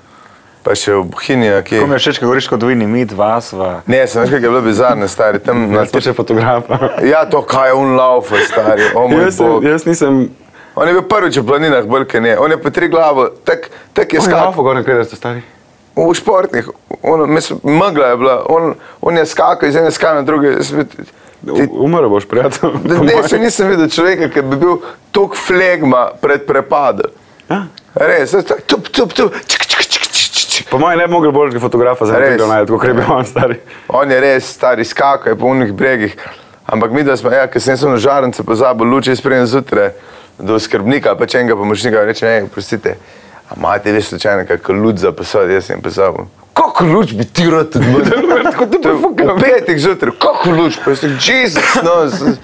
Speaker 1: Pa še v Hinija, ki
Speaker 3: Ko mi je všeč, ko govoriš kot vi, ni mi, dva sva.
Speaker 1: Ne, sem veš, kaj je bilo bizarno, stari, tam na
Speaker 2: Jaz pa še fotografa.
Speaker 1: Ja, to kaj je on lauf, stari, o Oh moj
Speaker 2: Jaz, sem- ja.
Speaker 1: bog.
Speaker 2: jaz nisem...
Speaker 1: On je bil prvič v planinah, brke ne, on je po tri glavo, tak, tak je skakal.
Speaker 2: Skakal, gore, kaj ste stari?
Speaker 1: V športnih, on, mislim, megla je bila, on, on je skakal iz ene skale na druge. jaz bi- ti-
Speaker 2: Umrl boš, prijatelj.
Speaker 1: Ne,
Speaker 2: Po
Speaker 1: ne,
Speaker 2: moje.
Speaker 1: še nisem videl človeka, ki bi bil tok flegma pred prepadom.
Speaker 2: Ja.
Speaker 1: Res, jaz tako, tup, tup, tup, čik, čik, čik, čik, čik.
Speaker 2: Po mojem ne bi mogel boljšega fotografa za
Speaker 1: Res.
Speaker 2: Trigla najti, kot je bil on stari.
Speaker 1: On je res stari skakal je po unih bregih, ampak mi, da smo, ja, ker sem jaz na žarnice pozabil, luči spremem zjutraj do skrbnika, pa če enega pomočnika reče, ne, prostite, a imate vi slučajno kakšno luč za posod, jaz sem pozabil. Kako luč bi ti rad odvrnil? V petek zjutraj, kako luč, pa sem Jezus, no, s-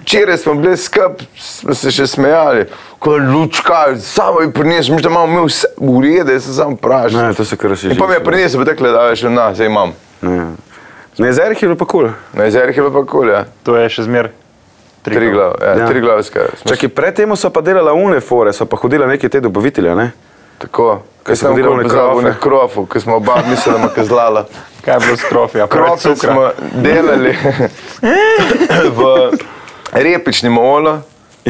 Speaker 1: včeraj smo bili skup, smo se še smejali, ko luč kaj, samo je prinesel, mi da imamo mi vse urede, jaz sem samo vprašal.
Speaker 2: Ne, to se kar še
Speaker 1: In pa mi je prinesel, pa tekle, da je šel na, zdaj imam.
Speaker 2: Na jezerih je bilo pa kul. Cool.
Speaker 1: Na jezerih je bilo pa kul, ja.
Speaker 3: To je še zmer.
Speaker 1: Tri glav, ja,
Speaker 2: Ja.
Speaker 1: ja. tri glavska.
Speaker 2: Čakaj, predtem so pa delala unefore, so pa hodila neke te dobavitelje, ne?
Speaker 1: Tako,
Speaker 2: Kaj
Speaker 1: kaj
Speaker 2: smo
Speaker 1: smo
Speaker 2: delali
Speaker 1: delali krofe?
Speaker 2: one krofe?
Speaker 1: Na krofu, ko smo oba mislila, da ima kazlala.
Speaker 3: Kaj je bilo s krofija?
Speaker 1: Krofe smo delali v repičnem olju.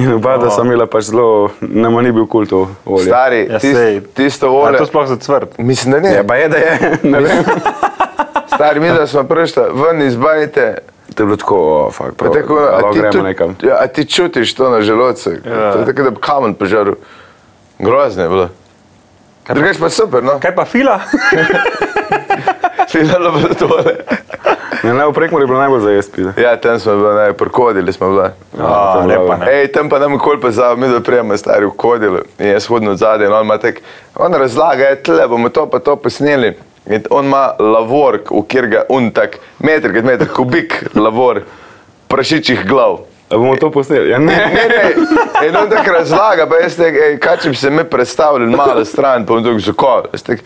Speaker 2: In oba, da sem imela pač zelo, nama ni bil kult to olje.
Speaker 1: Stari,
Speaker 3: Ja,
Speaker 1: tist,
Speaker 3: sej.
Speaker 1: tisto
Speaker 3: A
Speaker 1: olje.
Speaker 3: to sploh za cvrt.
Speaker 1: Mislim, da ne.
Speaker 2: Ja, pa je, da je. Ne vem.
Speaker 1: Stari, mi da smo prišli ven iz banite.
Speaker 2: To je bilo tako, o, fakt, prav,
Speaker 1: Tako, a
Speaker 2: lahko
Speaker 1: ti
Speaker 2: gremo
Speaker 1: tudi-
Speaker 2: nekam.
Speaker 1: Ja, a ti čutiš to na želodcu?
Speaker 3: Ja.
Speaker 1: Ja. To je tako, da bi kamen požaril. Grozno je bilo. Drugač pa super, no.
Speaker 3: Kaj pa fila?
Speaker 1: Gledalo pa tole.
Speaker 2: Ne, ne, v prekmor je bilo najbolj za jesti. Ja.
Speaker 1: Ja, tam smo bili, ne, prokodili smo bili.
Speaker 3: A,
Speaker 2: to je
Speaker 3: ne
Speaker 2: bilo- ja.
Speaker 3: pa ne.
Speaker 1: Ej, tam pa nam kol pa za, mi da prijemo stari v kodilu in jaz hodim od zadaj in on ima tek, on razlaga, je tle, bomo to pa to posneli. In on ima lavork, v kjer ga un tak, meter, krat meter, kubik lavor, prašičjih glav.
Speaker 2: A bomo to posneli? Ja, ne.
Speaker 1: Ne, ne, in on tak razlaga, pa jaz tek, ej, kaj če bi se mi predstavljali malo stran, pa on tako zakol. Jaz tek,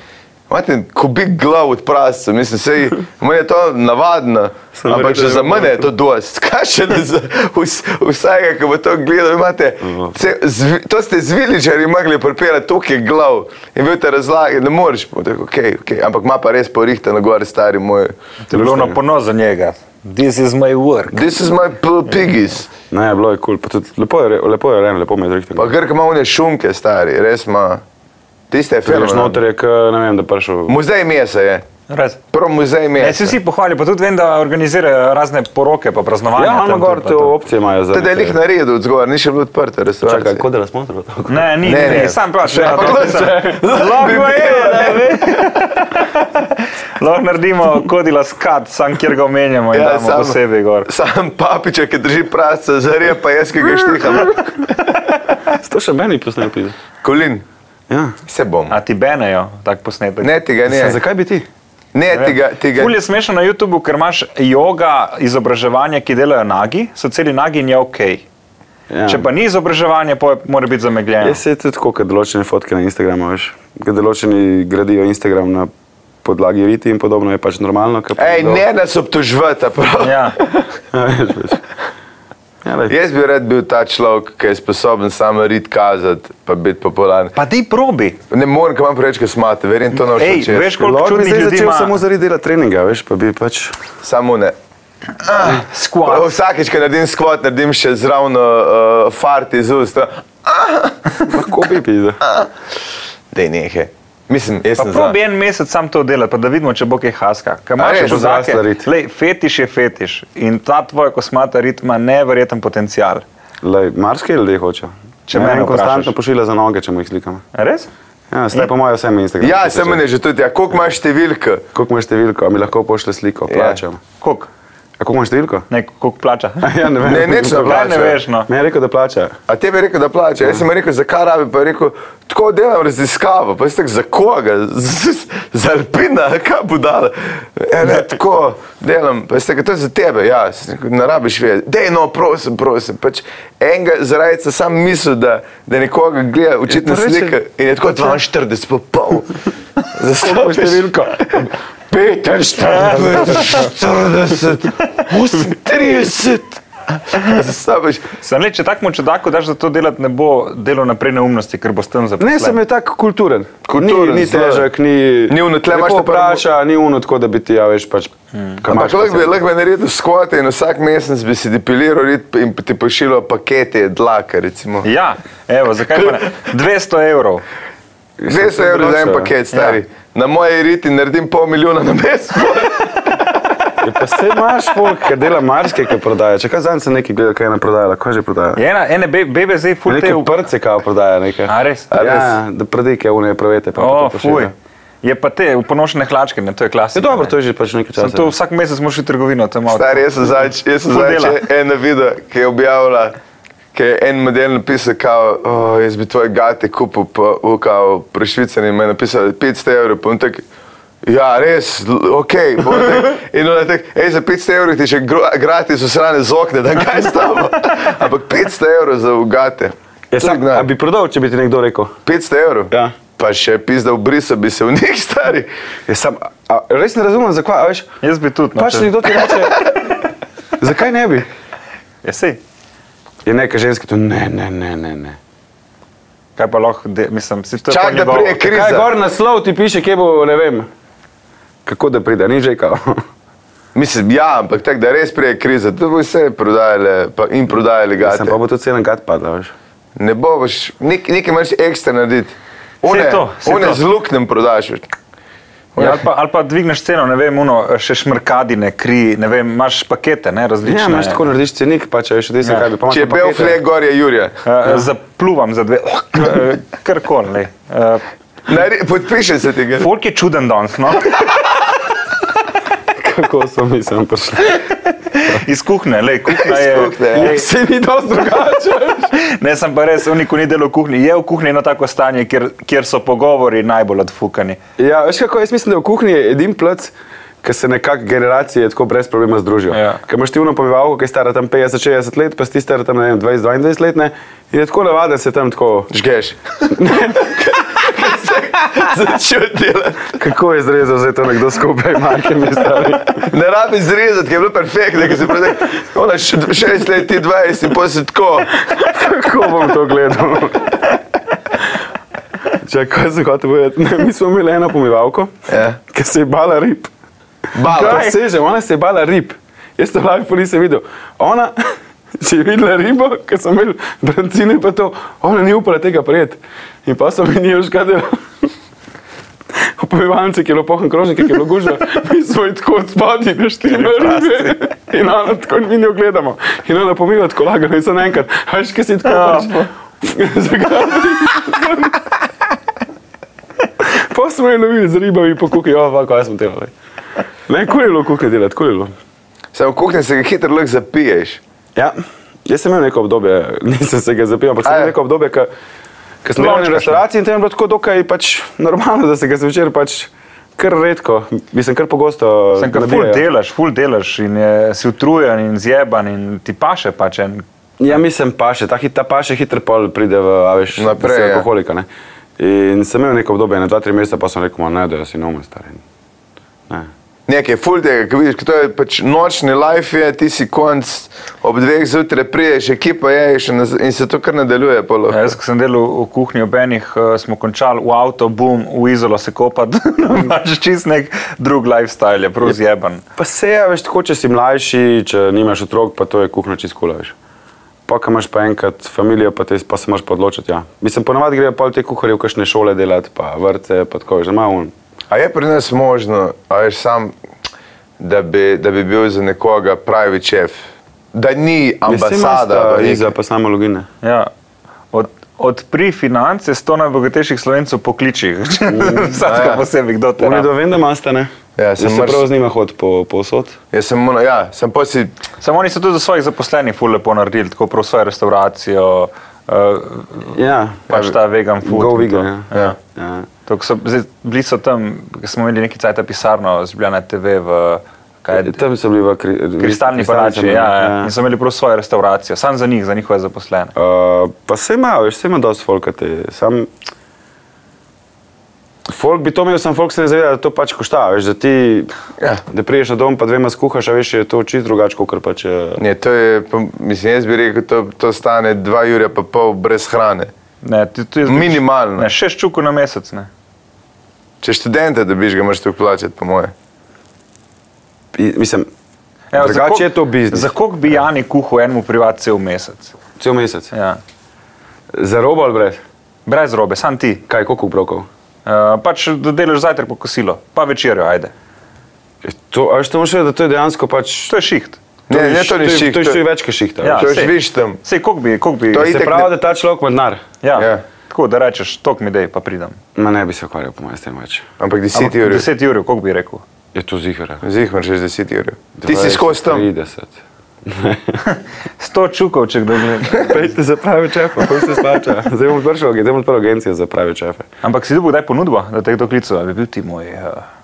Speaker 1: imate kubik glav od prasca, mislim, sej, meni je to navadno,
Speaker 2: Samo
Speaker 1: ampak
Speaker 2: reče,
Speaker 1: že
Speaker 2: da
Speaker 1: za
Speaker 2: je
Speaker 1: mene je to dost. Kaj še da za vs, vsakega, ki bo to gledal, imate, ce, zvi, to ste z viličarji mogli prepirati, toliko je glav in bil te razlage, ne moreš, pa tako, okay, okay, ampak ima pa res porihtano gor stari moj.
Speaker 3: To je bilo na ponos za njega. This is my work.
Speaker 1: This is my p- piggies.
Speaker 2: Ne, bilo je kul, pa tudi lepo je, re- lepo je, rejeno, lepo mi je
Speaker 1: Pa
Speaker 2: drihtel.
Speaker 1: grk ima one šunke stari, res ima, tiste filme.
Speaker 2: Greš noter, je, k, ne vem, da prišel.
Speaker 1: Muzej mesa je.
Speaker 3: Res.
Speaker 1: Prvo muzej
Speaker 3: Ne,
Speaker 1: mesa.
Speaker 3: si vsi pohvali, pa tudi vem, da organizirajo razne poroke, pa praznovanja.
Speaker 2: Ja,
Speaker 3: tam,
Speaker 2: imamo gor,
Speaker 3: pa
Speaker 2: te
Speaker 3: to.
Speaker 2: opcije imajo za.
Speaker 1: Tede je lih
Speaker 2: neke-
Speaker 1: na redu od zgor, ni še bilo odprto
Speaker 2: Čakaj,
Speaker 1: restavracije.
Speaker 2: kot da nas motra.
Speaker 3: Ne, ni,
Speaker 1: Ne,
Speaker 3: ne,
Speaker 1: ne.
Speaker 3: ne, sam plačam.
Speaker 1: Pa
Speaker 3: Lahko
Speaker 1: kdo se-
Speaker 3: je, ne, ne. Lahko naredimo kodila skat, sam kjer ga omenjamo in ja, damo
Speaker 1: samo-
Speaker 3: posebej gor.
Speaker 1: Sam papiča, ki drži prasca, zarija pa jaz, ki ga štiham.
Speaker 2: To še meni posnel pide.
Speaker 1: Kolin,
Speaker 2: Ja.
Speaker 1: se bom.
Speaker 3: A ti benejo tak posnetek?
Speaker 1: Ne tega,
Speaker 2: Sam,
Speaker 1: ne.
Speaker 2: zakaj bi ti?
Speaker 1: Ne tega, tega.
Speaker 3: Ja, Ful je smešno na YouTubu, ker imaš joga izobraževanje, ki delajo nagi, so celi nagi in je ok.
Speaker 2: Ja.
Speaker 3: Če pa ni izobraževanje, pa je- mora biti zamegljeno.
Speaker 2: Jaz se tudi tako, ker določene fotke na Instagramu, veš, ker določeni gradijo Instagram na podlagi riti in podobno, je pač normalno. ker pa
Speaker 1: Ej,
Speaker 2: kdo-
Speaker 1: ne nas obtožvati, a prav.
Speaker 3: Ja.
Speaker 2: Ja, veš, veš. Ja, lej.
Speaker 1: Jaz bi rad bil ta človek, ki je sposoben samo rit kazati, pa biti popularen.
Speaker 3: Pa ti probi.
Speaker 1: Ne morem, kam preveč, ker smate, verjem to noč.
Speaker 3: Ej, veš, koliko
Speaker 2: Lahko bi
Speaker 3: čudnih
Speaker 2: zdaj
Speaker 3: ljudi
Speaker 2: začel
Speaker 3: ima.
Speaker 2: samo zaradi dela treninga, veš, pa bi pač.
Speaker 1: Samo ne.
Speaker 3: Squat.
Speaker 1: Vsakeč, ko naredim skvot, naredim še zravno uh, fart iz ust.
Speaker 2: Lahko bi pide.
Speaker 1: Dej nehe. Mislim, jaz
Speaker 3: Pa
Speaker 1: sem za.
Speaker 3: probi en mesec sam to delati, pa da vidimo, če bo kaj haska. Kaj
Speaker 1: res,
Speaker 3: imaš
Speaker 1: bo
Speaker 3: kozake?
Speaker 2: zrasla rit.
Speaker 3: Lej, fetiš je fetiš in ta tvoja kosmata ritma neverjeten potencial.
Speaker 2: Marske ljudi hoče.
Speaker 3: Če
Speaker 2: Če me
Speaker 3: mene
Speaker 2: en konstantno
Speaker 3: vprašaš.
Speaker 2: pošilja za noge, če mu jih slikam.
Speaker 3: A Res?
Speaker 2: Ja, ste pa moje vse na Instagramu.
Speaker 1: Ja, sem meni že tudi, ja, koliko imaš številka?
Speaker 2: Koliko imaš številko, a mi lahko pošle sliko, plačam.
Speaker 3: Koliko?
Speaker 2: A koliko imaš številko?
Speaker 3: Ne, koliko plača?
Speaker 2: Ja, ne vem.
Speaker 1: Ne, nič ne
Speaker 3: Kaj
Speaker 1: plača.
Speaker 3: ne veš, no?
Speaker 2: Ne, je rekel, da plača.
Speaker 1: A tebi je rekel, da plača. Jaz sem mu rekel, zakaj rabi, pa je rekel, tako delam raziskavo. Pa jaz tak, za koga? Z- Za Alpina, kaj bo dala? Ja, ne, tako delam, pa jaz tak, to je za tebe, ja, Sem rekel, ne rabiš vedeti. Dej, no, prosim, prosim. Pač enega zarajca sam misli, da, da nekoga gleda očitna
Speaker 2: to reče-
Speaker 1: slika in je tako 42 Ja, pa pol. Za
Speaker 2: Koliko imaš
Speaker 1: slabo
Speaker 2: številko?
Speaker 1: 45, 48, 38. Zastaviš.
Speaker 3: Sam le, če takmo čudaku daš, da to delati, ne bo delo naprej neumnosti, ker bo s tem zaposlen.
Speaker 2: Ne, sem je tako kulturen.
Speaker 1: Kulturen,
Speaker 2: ni, ni
Speaker 1: seveda.
Speaker 2: težek, ni,
Speaker 1: Ni ono, tle imaš
Speaker 2: lepo
Speaker 1: ta prvo-
Speaker 2: vpraša, ni uno tako, da bi ti, ja veš, pač. Hmm.
Speaker 1: Ampak lahko bi, lahko bi naredil skvote in vsak mesec bi si depiliral rit in ti pošiljal pakete dlaka, recimo.
Speaker 3: Ja, evo, zakaj pa ne? 200 evrov.
Speaker 1: 200 evrov za en paket, stari. Ja. Na moje riti naredim pol milijona na mesec.
Speaker 2: Ja, pa se imaš folk, ki dela marsikaj, ki prodaja. Če kaj zanj se nekaj gleda, kaj je ena prodajala, kaj že prodaja?
Speaker 3: Je Ena, ene be- bebe zdaj
Speaker 2: Ja,
Speaker 3: fultev.
Speaker 2: Neke prce, kao prodaja nekaj.
Speaker 3: Ja, A res?
Speaker 2: Ja, Ja, da predike, unije prevete. Pa
Speaker 3: O,
Speaker 2: pa to pošilja.
Speaker 3: fuj. Je pa te, uponošene hlačke, ne, to je
Speaker 2: Ja,
Speaker 3: klasika.
Speaker 2: dobro,
Speaker 3: ne.
Speaker 2: to je že pač nekaj
Speaker 3: Sem
Speaker 2: časa.
Speaker 3: to vsak mesec moraš v trgovino, to je malo.
Speaker 1: Stari, jaz sem zadnjič jaz sem
Speaker 3: Ful
Speaker 1: zadnjič
Speaker 3: dela.
Speaker 1: eno video, ki je objavila, ki je en model napisal, kao, oh, jaz bi tvoje gate kupil, pa v kao prešvicani mi je napisal 500 evrov, pa on tak, ja, res, l- ok. pa on tak- In on je tak, hej, za 500 evrov ti še gro- gratis usrane z okne, da kaj s tabo. Ampak 500 evrov za ugate.
Speaker 2: Ja, sam, a bi prodal, če bi ti nekdo rekel.
Speaker 1: 500 evrov?
Speaker 2: Ja.
Speaker 1: Pa še pizda v briso bi se v njih stari.
Speaker 2: Ja, sam, a, res ne razumem, zakaj, a veš,
Speaker 3: Jaz bi tudi. no,
Speaker 2: pač
Speaker 3: če-
Speaker 2: nekdo ti reče, zakaj ne bi?
Speaker 3: Ja, sej.
Speaker 2: Je neka ženska tu, ne, ne, ne, ne. ne.
Speaker 3: Kaj pa lahko, de, mislim, si to je
Speaker 1: Čak,
Speaker 3: pa
Speaker 1: da
Speaker 3: njegovo.
Speaker 1: prije kri- Kriza.
Speaker 2: Kaj gor naslov ti piše, kje bo, ne vem. Kako da pride, ni že kao.
Speaker 1: Mislim, ja, ampak tako da res prije krize, to bo vse prodajale pa- in prodajale gate.
Speaker 2: Sam pa bo to cena gat padla, veš.
Speaker 1: Ne bo boš, nek, nekaj moraš ekstra narediti. One,
Speaker 3: to, saj
Speaker 1: one
Speaker 3: to.
Speaker 1: z luknjem prodaš. veš.
Speaker 3: Ja, ali, pa, ali pa dvigneš ceno, ne vem, uno, še šmrkadine, kri, ne vem, imaš pakete, ne,
Speaker 2: Ja,
Speaker 3: različne.
Speaker 2: imaš tako narediš cenik, pa če veš, da se
Speaker 3: Ja.
Speaker 2: kaj bi pomagal.
Speaker 1: Če je bel fleg, gor je Jurija.
Speaker 3: Uh,
Speaker 2: ja.
Speaker 3: zapluvam za dve, uh, kar koli. Uh,
Speaker 1: Nari- Podpiše se tega.
Speaker 3: folk je čuden danes, no?
Speaker 2: kako so mi sem prišli.
Speaker 3: iz kuhne, le, kuhna
Speaker 1: Iz
Speaker 3: je.
Speaker 1: kuhinje, ja.
Speaker 3: glej,
Speaker 2: Se ni dosti drugače.
Speaker 3: Ne, sem pa res, uniko ni delo v kuhinji. Je v kuhinji eno tako stanje, kjer, kjer so pogovori najbolj odfukani.
Speaker 2: Ja, veš kako, jaz mislim, da v kuhinji je edin plac, ki se nekako generacije tako brez problema združijo.
Speaker 3: Ja.
Speaker 2: Ker imaš ti uno pobivalko, ki je stara tam 50-60 let, pa si ti stara tam 20-22 let, ne? in je tako navaden se tam tako,
Speaker 1: Žgeš. Začel delati.
Speaker 2: kako je zrezal zdaj to nekdo skupaj, majke mi stari.
Speaker 1: Ne rabi zrezati, ki je bilo perfektno, ki se prodaj. Ona š- šest let, ti dvajset in potem si tako.
Speaker 2: Kako bom to gledal? Če kaj se hoče povedati, Ne, mi smo imeli eno pomivalko,
Speaker 1: Ja.
Speaker 2: ki se je bala rib.
Speaker 1: Bala.
Speaker 2: Sežem, ona se je bala rib. Jaz to live nisem videl. Ona, če je videla ribo, ki sem imel brancine, pa to, ona ni upala tega prijeti. In pa so mi njo škadili. Upojevalce, ki je bilo pohan krožnik, ki je bilo gužo, mi smo ji tako odpadli na štiri ribe. In ona tako mi njo gledamo. In ona pomiva tako lagano in sem enkrat, veš, kaj si tako pač. Zakaj? Pa smo jo lovili z ribami po kuhi, ova, kaj smo delali. Ne, kul je bilo kuhne delati, kul je bilo.
Speaker 1: Samo kuhne se ga hitro lahko zapiješ.
Speaker 2: Ja, jaz sem imel neko obdobje, nisem se ga zapil, ampak sem
Speaker 1: Aja.
Speaker 2: imel neko obdobje, ko- ko sem delal
Speaker 3: Lončkaš,
Speaker 2: v
Speaker 3: ne?
Speaker 2: restauraciji in tam je bilo tako dokaj pač normalno, da se ga zvečer pač kar redko, mislim kar pogosto.
Speaker 3: Sem kar ful
Speaker 2: nabijajo.
Speaker 3: delaš, ful delaš in je, si utrujen in zjeban in ti paše pač en.
Speaker 2: Ja, mislim pa še, ta, hit, ta pa še hitro pol pride v, a veš,
Speaker 1: Naprej,
Speaker 2: da si
Speaker 1: ja.
Speaker 2: alkoholika. Ne? In sem imel neko obdobje, na 2-3 meseca pa sem rekel, "Ma ne, da si neumen star. in Ne.
Speaker 1: Nekaj je ful tega, ki vidiš, ko to je pač nočni life, je, ti si konc, ob dveh zjutraj priješ, ekipa je še naz- in se to kar nadaljuje. pol.
Speaker 3: Ja, Jaz, ko sem delal v kuhinji ob enih, eh, smo končali v avto, bum, v izolo se kopati, imaš čist nek drug lifestyle, je prav zjeban.
Speaker 2: Pa se je, veš, tako, če si mlajši, če nimaš otrok, pa to je kuhno čisto kulaš. Pa, ko imaš pa enkrat familijo, pa, te, pa se moraš pa odločiti. Ja. Mislim, ponavadi grejo pol te kuharje v kakšne šole delati, pa vrtce, pa tako, že malo. un.
Speaker 1: A je pri nas možno, a veš sam, da bi, da bi bil za nekoga pravi šef? Da ni
Speaker 2: Ja, saj ima
Speaker 1: ambasada.
Speaker 2: sta
Speaker 1: v neki-
Speaker 2: Iza, pa samo logine.
Speaker 3: Ja. Od, odpri finance, 100 najbogatejših slovencev pokliči.
Speaker 1: ja.
Speaker 3: Vsak posebej, kdo te
Speaker 2: Unedo
Speaker 3: rabi.
Speaker 2: vem, da imate, ne?
Speaker 1: Ja,
Speaker 2: Da
Speaker 1: sem
Speaker 2: se
Speaker 1: mrs-
Speaker 2: prav z njima hod po, po vsod.
Speaker 1: Jaz sem, mono- ja, sem pa si,
Speaker 3: Samo oni so tudi za svojih zaposlenih ful lepo naredili, tako prav svojo restauracijo, uh,
Speaker 2: Ja,
Speaker 3: pač ta vegan food.
Speaker 2: Go
Speaker 3: in
Speaker 2: vegan,
Speaker 3: to.
Speaker 2: ja.
Speaker 3: ja.
Speaker 2: ja.
Speaker 3: To, ko So, zdaj, bili so tam, ko smo imeli neki cajt pisarno, zbljena TV v kaj, je,
Speaker 2: Tam so bili v kri,
Speaker 3: kristalni palači. Ja, ja. In so imeli prav svojo restauracijo, sam za njih, za njihove zaposlene.
Speaker 2: Uh, pa se ima, veš, se ima dosti folkati. Sam, Folk bi to imel, sem folk se ne zaveda, da to pač košta. Veš, da, ti,
Speaker 3: Ja.
Speaker 2: da priješ na dom, pa dvema skuhaš, a veš, je to čist drugače, kot pač. eh,
Speaker 1: Ne, to je, pa, mislim, jaz bi rekel, to, to stane 2 jurja pa pol brez hrane.
Speaker 3: Ne, ti, ti izgubiš-
Speaker 1: Minimalno.
Speaker 3: Ne, šest čukov na mesec. Ne.
Speaker 1: Če študente dobiš, ga moraš tu plačati, po moje.
Speaker 2: i- Mislim,
Speaker 3: Evo, Ja, za
Speaker 2: drugače
Speaker 3: koliko-
Speaker 2: je to biznis. Ja.
Speaker 3: Za koliko bi Jani kuhal enemu privat cel mesec?
Speaker 2: Cel mesec.
Speaker 3: Ja.
Speaker 2: Za robo ali brez?
Speaker 3: Brez robe, sam ti.
Speaker 2: Kaj, koliko brokov?
Speaker 3: Uh, pač da delaš zajtrk, pa kosilo, pa večerjo, ajde.
Speaker 2: Je To, a veš, to moraš vedeti, da to je dejansko pač.
Speaker 3: To je šiht.
Speaker 1: Ne, ne, to ni
Speaker 2: je-
Speaker 1: šiht,
Speaker 2: To je
Speaker 1: to je-
Speaker 2: še več kot šihta.
Speaker 3: Ja,
Speaker 2: veš.
Speaker 1: To je
Speaker 3: sej.
Speaker 1: žviš tam.
Speaker 3: Sej, koliko bi, koliko bi,
Speaker 1: To je
Speaker 2: Se
Speaker 1: itak
Speaker 2: pravi,
Speaker 1: ne-
Speaker 2: da ta človek ima denar.
Speaker 3: ja,
Speaker 1: Ja.
Speaker 3: ja. Tako da rečeš, tok mi dej, pa pridem.
Speaker 2: Ma ne bi se ukvarjal, po mojem, s tem več.
Speaker 1: Ampak 10 jurjev.
Speaker 3: 10 ur, koliko bi rekel?
Speaker 2: Je to zihar.
Speaker 1: Zih moraš reči 10 jurjev. Ti si skozi tam.
Speaker 2: 30.
Speaker 3: 100 čukov, če kdo gleda.
Speaker 2: Pejte za prave čefe, kako se splača. Zdaj bomo odprli, zdaj bomo odprli agencijo za prave čefe.
Speaker 3: Ampak si dobil, daj ponudbo, da te kdo klical, bi bil ti moj. Uh,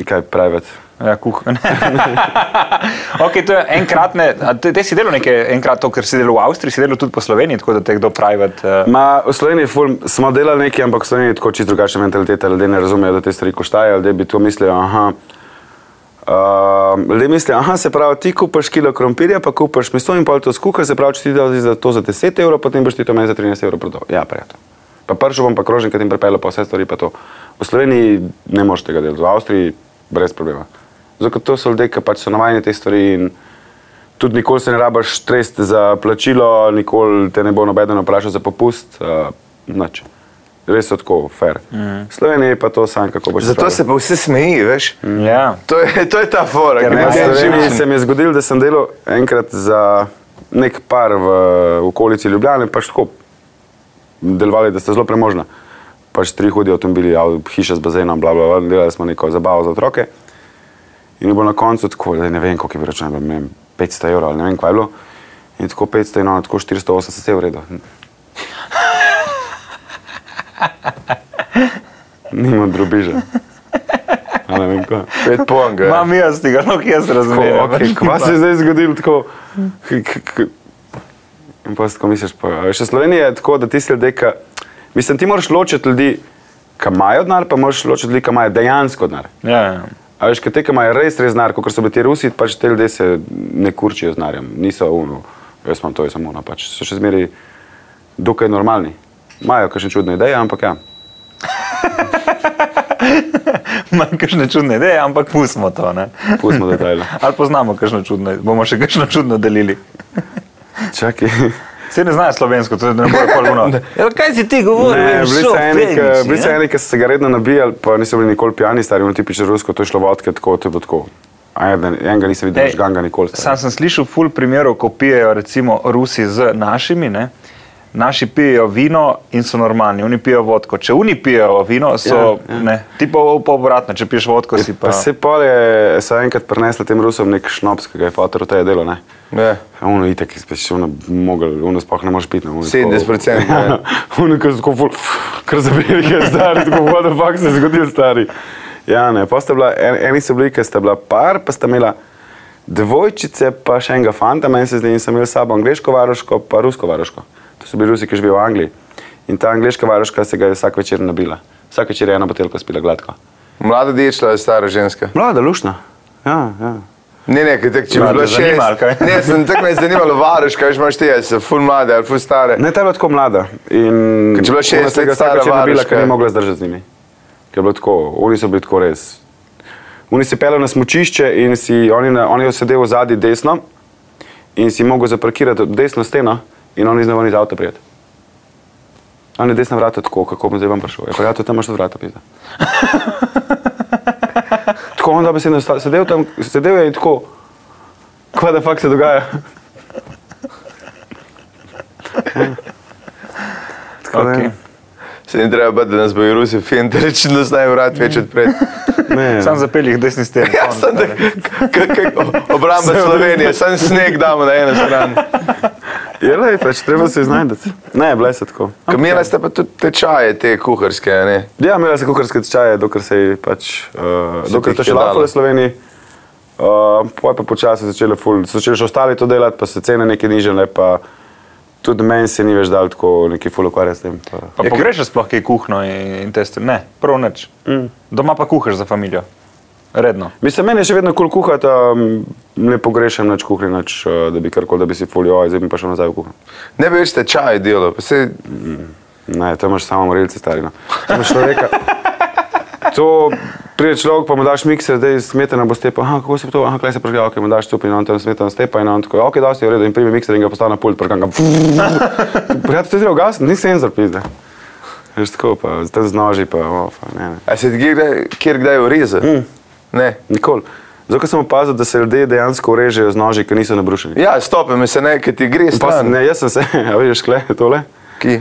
Speaker 2: In kaj private?
Speaker 3: Ja, kuhanje. okay, to je enkratne. a Te, te si delal nekaj enkrat, to, ker si delal v Avstriji, si delal tudi po Sloveniji, tako da te kdo private. Uh,
Speaker 2: Ma, v Sloveniji ful, smo delali nekaj, ampak v Sloveniji je tako čisto drugačna mentaliteta. Ljudje ne razumejo, da te stvari koštajo, ljudje bi to mislili, aha. Uh, ljudje mislijo, aha, se pravi, ti kupaš kilo krompirja, pa kupaš meso in pol to skuha, se pravi, če ti daš za to za 10 evrov, potem boš ti to meni za 13 evrov prodal. Ja, prijatelj. Pa pršel bom pa krožnik, ki ti pripelje pa vse stvari, pa to. V Sloveniji ne moreš tega delati, v Avstriji brez problema. Zato ker to so ljudje, ki pač so navajeni te stvari in Tudi nikoli se ne rabiš tresti za plačilo, nikoli te ne bo nobeden vprašal za popust. Uh, nič. Res je tako, fair. Mm. Slovenija je pa to sam, kako boš
Speaker 1: Zato se pa vsi smeji, veš.
Speaker 3: ja.
Speaker 1: To je, to je ta fora, ki
Speaker 2: Ker ne,
Speaker 1: ima
Speaker 2: v
Speaker 1: en
Speaker 2: Sloveniji
Speaker 1: živčen.
Speaker 2: se mi je zgodilo, da sem delal enkrat za nek par v okolici Ljubljane, pač tako delovali, da sta zelo premožna. Pač tri hudi avtomobili, av- hiša z bazenom, bla, bla, bla, delali smo neko zabavo za otroke. In je bilo na koncu tako, da ne vem, koliko je bilo računalo, ne vem, 500 evrov ali ne vem, kaj je bilo. In tako 500 in ono, tako 480, vse je v redu. Nima drobiža. A Ne vem, kaj.
Speaker 1: Pet ponga. ja.
Speaker 3: Imam jaz tega, no, ki jaz razumem.
Speaker 2: Tako, okay, kva se je zdaj zgodilo tako? k- k- k- In pa si tako misliš, pa a veš, v Sloveniji je tako, da tisti ljudje, ki, mislim, ti moraš ločiti ljudi, ki imajo denar, pa moraš ločiti ljudi, ki imajo dejansko denar.
Speaker 3: Ja, ja.
Speaker 2: A veš, ker te, ki imajo res res denar, kot so bili ti Rusi, pač te ljudje se ne kurčijo z denarjem, niso uno, jaz imam to, jaz sem uno, pač so še zmeri dokaj normalni. Imajo kakšne čudne ideje, ampak ja.
Speaker 3: Imam kakšne čudne ideje, ampak pustimo to. Ne?
Speaker 2: Pustimo detajle.
Speaker 3: Ali poznamo kakšno čudno, bomo še kakšno čudno delili.
Speaker 2: Čakaj.
Speaker 3: Se ne znajo slovensko, to je ne bojo polno. Ja, kaj si ti govoril?
Speaker 2: Ne, bili so eni, ki- bili so eni, ki so se ga redno nabijali, pa niso bili nikoli pijani, stari, ono tipično rusko, to je šlo vodke, tako, to je bilo tako. A eden- Enega nisem videl,
Speaker 3: Ej,
Speaker 2: žganga nikoli. stari.
Speaker 3: Sam sem slišal ful primerov, ko pijejo recimo Rusi z našimi. Ne? Naši pijejo vino in so normalni, oni pijejo vodko. Če oni pijejo vino, so ja, ja. ne. Ti pa pa obratno, če piješ vodko, si pa.
Speaker 2: Pa se pol je saj enkrat prenesla tem Rusom nek šnops, ki ga je fotor v teje delo, ne?
Speaker 1: Ne.
Speaker 2: Uno itek, speš, uno mogel, uno sploh ne moreš piti. ne, ono tako-
Speaker 1: 70%, ja.
Speaker 2: Uno, ki je tako ful, kar zabili, je stari, tako what the fuck se je zgodil, stari. Ja, ne, pa sta bila, en, eni so bili, ki sta bila par, pa sta imela dvojčice, pa še enega fanta, meni se zdi, in sem imel s sabo angliško varoško, pa rusko varoško. To so bili Rusi, ki živijo v Angliji. In ta angliška varoška se ga je vsak večer nabila. Vsak večer je eno botelko spila gladko.
Speaker 1: Mlada dečla je stara ženska.
Speaker 2: Mlada, lušna. Ja, ja.
Speaker 1: Ne, ne, ker tak, če bi
Speaker 3: Mlade
Speaker 1: bilo še.
Speaker 3: zanima, ali kaj?
Speaker 1: Ne, sem tako me je zanimalo, varuška, veš, imaš te, se ful mlade ali ful stare.
Speaker 2: Ne, ta je bila tako mlada. In
Speaker 1: Ker če je bila
Speaker 2: ona
Speaker 1: šest
Speaker 2: se ga
Speaker 1: let
Speaker 2: vsake
Speaker 1: stara
Speaker 2: večer nabila,
Speaker 1: varuška.
Speaker 2: ker ni mogla zdržati z njimi. Ker je bilo tako, oni so bili tako res. Oni si pelali na smočišče in si, oni, na, oni je sedel zadnji desno in si mogel zaparkirati ob desno steno in oni znova iz avta prijeti. On je desna vrata tako, kako bom zdaj vam prišel. Je pa ja, to tam imaš od vrata, pizda. tako on dobesedno sta- sedel tam, sedel je in tako, kva da fakt se dogaja. tako da,
Speaker 3: okay.
Speaker 1: Se ne treba bati, da nas bojo Rusi fintelično znaj "No, vrat več odpret.
Speaker 2: Ne,
Speaker 3: Sam zapelji jih desni steni.
Speaker 1: Ja,
Speaker 3: konc,
Speaker 1: sem tak,
Speaker 3: stari.
Speaker 1: k- k- obramba Slovenije, sem sneg damo na eno stran.
Speaker 2: Je le, pač treba se znajdeti. Ne, bile se tako.
Speaker 1: Kamila sta pa tudi tečaje te kuharske, a ne?
Speaker 2: Ja, imela se kukarske tečaje, dokler se je pač, uh,
Speaker 1: Se ti
Speaker 2: dokler to
Speaker 1: jih je
Speaker 2: še lahko
Speaker 1: dalo.
Speaker 2: v Sloveniji. Eh, Uh, Poje pa počasi začele ful, so začeli še ostali to delati, pa se cene nekaj nižale, pa Tudi meni se ni več dal tako neki ful ukvarjati s tem. Pa.
Speaker 3: Pa pogrešaš sploh kaj kuhno in, in teste? Ne, prav nič. Mm. Doma pa kuhaš za familijo. Redno.
Speaker 2: Mislim, meni je še vedno kul cool kuhati, um, ne pogrešam nič kuhne, nič, uh, da bi karkoli, da bi si folijo, zdaj bi pa šel nazaj v kuhanje.
Speaker 1: Ne bi več tečaj delal, pa se
Speaker 2: Ne, tam imaš samo morilce starina. Človeka, to pride človek, pa mu daš mikser, da je smetana bo stepa, aha, kako se to, aha, kaj se prežgal, ok, mu daš stup in on tam smetana stepa in on tako, ok, da si v redu in prime mikser in ga postavi na pult, prkam ga. Prijatelj, to je zelo gas, ni senzor, pizda. Veš tako, pa zdaj z noži, pa, o, pa ne, ne.
Speaker 1: A se ti kje kdaj- kjer kdaj ureza? Mm. Ne.
Speaker 2: Nikoli. Zato ker sem opazil, da se ljudje dejansko režejo z noži, ki niso nabrušeni.
Speaker 1: Ja, stopi mi se ne, ker ti gre
Speaker 2: Pa, sem-
Speaker 1: stran.
Speaker 2: ne, jaz sem se, a vidiš, kle, tole.
Speaker 1: Ki?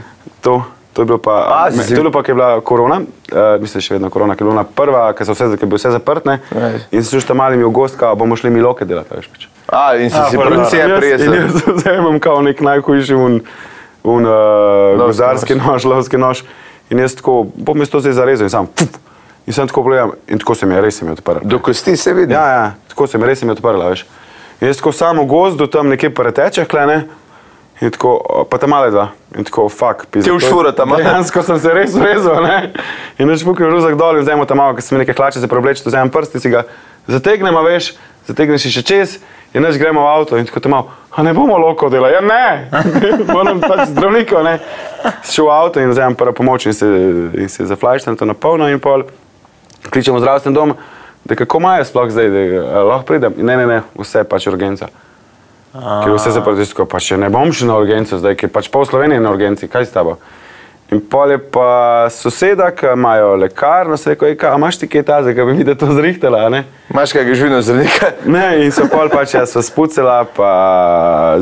Speaker 2: To, to je bilo pa,
Speaker 1: A,
Speaker 2: me,
Speaker 1: si-
Speaker 2: to je bilo pa, ko je bila korona, uh, mislim, še vedno korona, ki je bila ona prva, ki so vse, ki je bilo vse zaprtne
Speaker 1: Ej.
Speaker 2: in so šli tam malim v gost, kao bomo šli mi loke delati, a veš pač.
Speaker 1: A, in si
Speaker 3: A,
Speaker 1: si
Speaker 3: pol
Speaker 1: prncije
Speaker 2: In jaz- in
Speaker 1: prijesel.
Speaker 2: jaz vzamem kao nek najhujši un, un uh,
Speaker 1: Lovski
Speaker 2: gozarski nož, lovski nož in jaz tako, bom jaz to zdaj zarezal in sam, puf, in sem tako pogledam in tako se mi je, res se mi je odprl.
Speaker 1: Do kosti se vidi.
Speaker 2: Ja, ja, tako se mi res je odprla, veš. In jaz tako samo gozdu tam nekje pretečem, klene. In tako, o, pa tam male dva. In tako, fuck,
Speaker 1: Ti
Speaker 2: pizda.
Speaker 1: v
Speaker 2: to je-
Speaker 1: švuro tam male.
Speaker 2: Dejansko sem se res urezal, ne. In več puknil ruzak dol in vzemo tam malo, ker sem nekaj hlače za preobleči, vzamem prst in si ga zategnemo, veš, zategneš in še čez. In več gremo v avto in tako tam malo, a ne bomo loko delali, ja ne, moram pač zdravniku, ne. Šel v avto in vzamem prvo pomoč in se, in se zaflajšam to na polno in pol kličemo zdravstveni dom, da kako imajo sploh zdaj, da eh, lahko pridem. Ne, ne, ne, vse je pač urgenca. Ker je vse zaprto, jaz tako, pa če ne bom šel na urgenco zdaj, ker pač pol Slovenije je na urgenci, kaj s tabo? In pol je pa soseda, ki imajo lekarno, se reče, a imaš ti kaj taze, ki bi mi da to zrihtala, a ne?
Speaker 1: Imaš kakega živino zrnika?
Speaker 2: Ne, in so pol pač jaz sva spucala, pa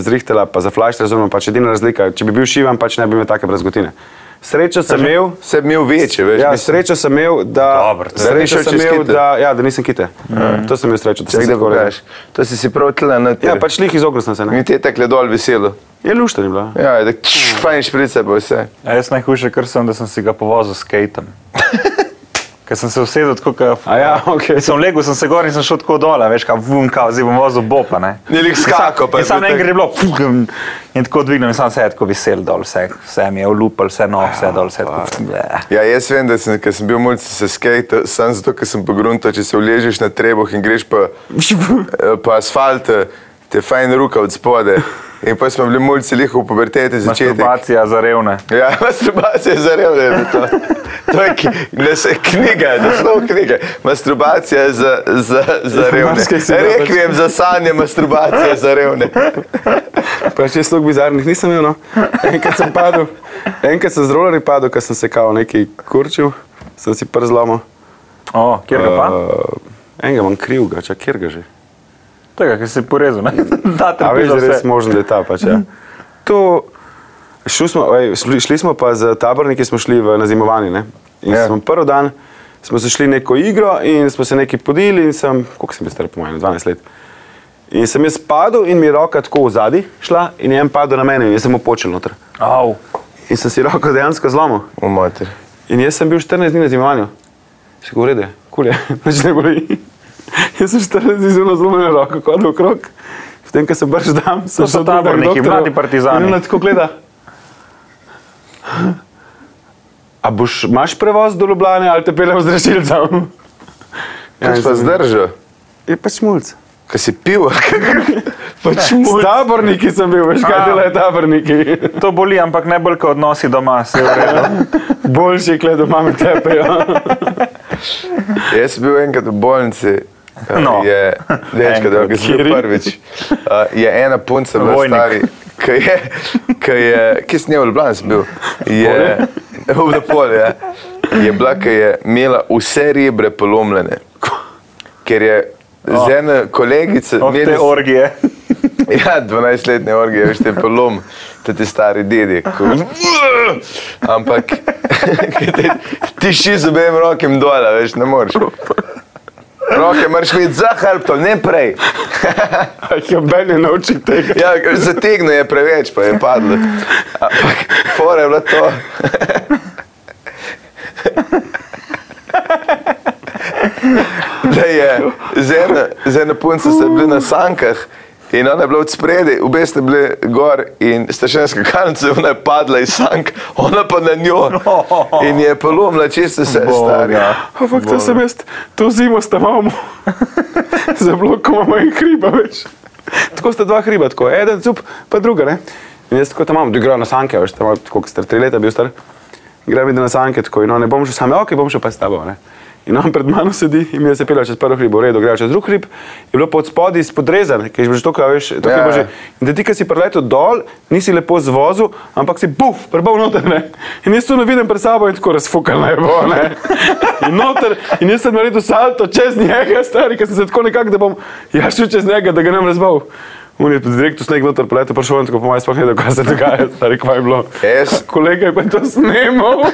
Speaker 2: zrihtala, pa zaflašila, razumem, pač edina razlika, če bi bil šivan, pač ne bi imel take brazgotine. Srečo sem imel,
Speaker 1: Se mi uveče, veš.
Speaker 2: Ja,
Speaker 1: mislim.
Speaker 2: srečo sem imel, da,
Speaker 3: Dobro, to je-
Speaker 1: Da ni
Speaker 2: srečo
Speaker 1: šel
Speaker 2: sem
Speaker 1: čez
Speaker 2: imel,
Speaker 1: kite.
Speaker 2: da, ja, da nisem kite. Mm. To sem imel srečo, da
Speaker 1: Saj
Speaker 2: sem se
Speaker 1: kdaj
Speaker 2: tako
Speaker 1: pokažeš. To si si prav tle na
Speaker 2: Ja, pač lih izognil sem se. Ne?
Speaker 1: In te takle dol veselo.
Speaker 2: Je lušta ni bila.
Speaker 1: Ja, tako fajn šprice pa vse.
Speaker 3: A jaz najhujše, kar sem, da sem si ga povozil s skateom. Ker sem se usedel tako, kot
Speaker 2: A ja, ok.
Speaker 3: Sem legel, sem se gor in sem šel tako dol, a veš, kaj vum, kao, zdaj bom vozil bopa, ne.
Speaker 2: Ja,
Speaker 1: Ni lik skako, pa
Speaker 3: In
Speaker 1: je
Speaker 3: sam
Speaker 1: bil
Speaker 3: enkrat
Speaker 1: tak-
Speaker 3: je bilo, fugum, in tako dvignem in sam se je tako vesel dol, vse, vse mi je olupal, vse no,
Speaker 2: Ja,
Speaker 3: vse dol, vse tako. bleh.
Speaker 1: Ja, jaz vem, da sem, ker sem bil mulj, se skate, samo zato, ker sem pogrunto, če se uležeš na trebuh in greš pa, eh, pa asfalt, eh, te fajn ruka od spode. In pa smo bili mulci liho v puberteti začeti.
Speaker 3: Masturbacija za revne.
Speaker 1: Ja, masturbacija je zarev, da je bilo to. To je ki, ne, se, knjiga, naslov knjige. Masturbacija je za, za, za revne.
Speaker 2: marsikaj si dobro
Speaker 1: Rekvijem za sanje, masturbacija za revne.
Speaker 2: Pač jaz slog bizarnih nisem imel. No. Enkrat sem padel, enkrat sem z rolerji padel, ker sem se kao neki kurčil, sem si prst zlomil.
Speaker 3: O, kjer ga pa?
Speaker 2: Uh, enega imam krivga, čak kjer ga že.
Speaker 3: Tega, ki si porezal, ne. Da,
Speaker 2: A veš, da je res
Speaker 3: trpiš.
Speaker 2: možen, da je ta pač. Ja. To, šli smo, ej, šli- šli smo pa z taborniki, smo šli v nazimovanje. Ne? In
Speaker 1: Ja.
Speaker 2: ja. smo prvi dan, smo se šli neko igro in smo se nekaj podili in sem, koliko sem bil star, po mojem, 12 let. In sem jaz padel in mi je roka tako v zadnji šla in je en padel na mene in jaz sem mu počel noter.
Speaker 3: Au.
Speaker 2: In sem si roko dejansko zlomil.
Speaker 1: Umater.
Speaker 2: In jaz sem bil 14 dni na zimovanju. Še govori, da je, kulje, noč ne boli. jaz sem 14 dni zelo zlomljen roko, kot okrog. V tem, ko sem brž dam, sem
Speaker 3: so
Speaker 2: šel drugemu
Speaker 3: taborniki,
Speaker 2: doktorju
Speaker 3: mladi partizani.
Speaker 2: In ona tako gleda. A boš, imaš prevoz do Ljubljane ali te peljem z rešilcem?
Speaker 3: Ja,
Speaker 1: Kaj si pa zdržal?
Speaker 2: Je pač mulj.
Speaker 1: Kaj si pil?
Speaker 2: Pač mulj. Taborniki sem bil, veš kaj
Speaker 3: A.
Speaker 2: delajo taborniki.
Speaker 3: To boli, ampak ne bolj, kot odnosi doma, se je v redu.
Speaker 2: Boljši kledo mame tepejo.
Speaker 1: Jaz sem bil enkrat v bolnici. eh,
Speaker 3: No.
Speaker 1: Je, dečka, da ga sem bil
Speaker 2: Enkrat,
Speaker 1: prvič. eh, Je ena punca bila
Speaker 3: Vojnik.
Speaker 1: stari, ki je, ki je, ki sem je v Ljubljani sem bil, je, v Napolju, ja. je bila, ki je imela vse rebre polomljene, ker je z
Speaker 3: Oh.
Speaker 1: ene kolegice
Speaker 3: Ob te
Speaker 1: imeli-
Speaker 3: orgije.
Speaker 1: Ja, 12-letne orgije, veš, te polom, te, te stari dedi. Ko... Ampak ke te- ti ši z obem rokem dol, a veš, ne moreš. Roke moraš imeti za hrbto, ne prej.
Speaker 2: Ja, Ben je naučil tega.
Speaker 1: Ja, zategnil je preveč, pa je padlo. Ampak fora je bilo to. Da je z eno- z eno punco se bili na sankah In ona je bila od spredi, obe ste bili gor in ste še nekaj kalnice, ona je padla iz sank, ona pa na njo. In je polomila čiste se, stari.
Speaker 3: ja.
Speaker 2: Ampak to sem jaz, to zimo sta imamo, za blokom imamo en hriba več. Tako sta dva hriba, tako eden cup, pa druga. Ne? In jaz tako tam imam, igrajo na sanke, veš, tam imam, tako kot star tri leta bil star, igra mi da na sanke, tako in on ne bom šel sam, ok, bom šel pa s tabo. Ne? In on pred mano sedi in mi je se pelal čez prvi hrib, v redu, gre čez drugi hrib, je bilo pod spodaj spodrezan, ker je že bilo že tako, a veš, tako
Speaker 1: Ja,
Speaker 2: je bilo
Speaker 1: ja.
Speaker 2: že. In da ti, ki si preletel dol, nisi lepo zvozil, ampak si buf, prebal noter. Ne? In jaz to ne vidim pred sabo in tako razfukal ne bo. Ne? In, noter, in jaz sem naredil salto čez njega, stari, ker sem se tako nekako, da bom ja šel čez njega, da ga ne bom razbal. On je direkt v sneg noter poletel, pa šel on tako po mojem sploh ne, kaj se dogaja, stari, kva je bilo.
Speaker 1: Jaz-
Speaker 2: Kolega je pa to snimal.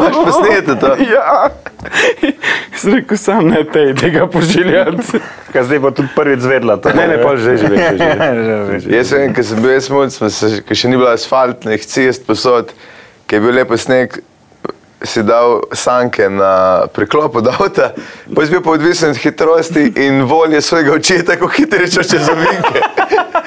Speaker 1: Paš posnete to.
Speaker 2: Ja. Jaz sem rekel, sam ne tej, tega pošiljati.
Speaker 3: Kaj zdaj bo tudi prvič zvedla. to.
Speaker 2: Ne, ne, pol že, že, že, že.
Speaker 3: že. že.
Speaker 1: Jaz vem, ker sem bil smut, ker še ni bilo asfaltnih cest posod, ker je bil lepo sneg, si dal sanke na priklop od avta, pa si bil pa odvisen od hitrosti in volje svojega očeta, kako hitro rečeš čez ovinke.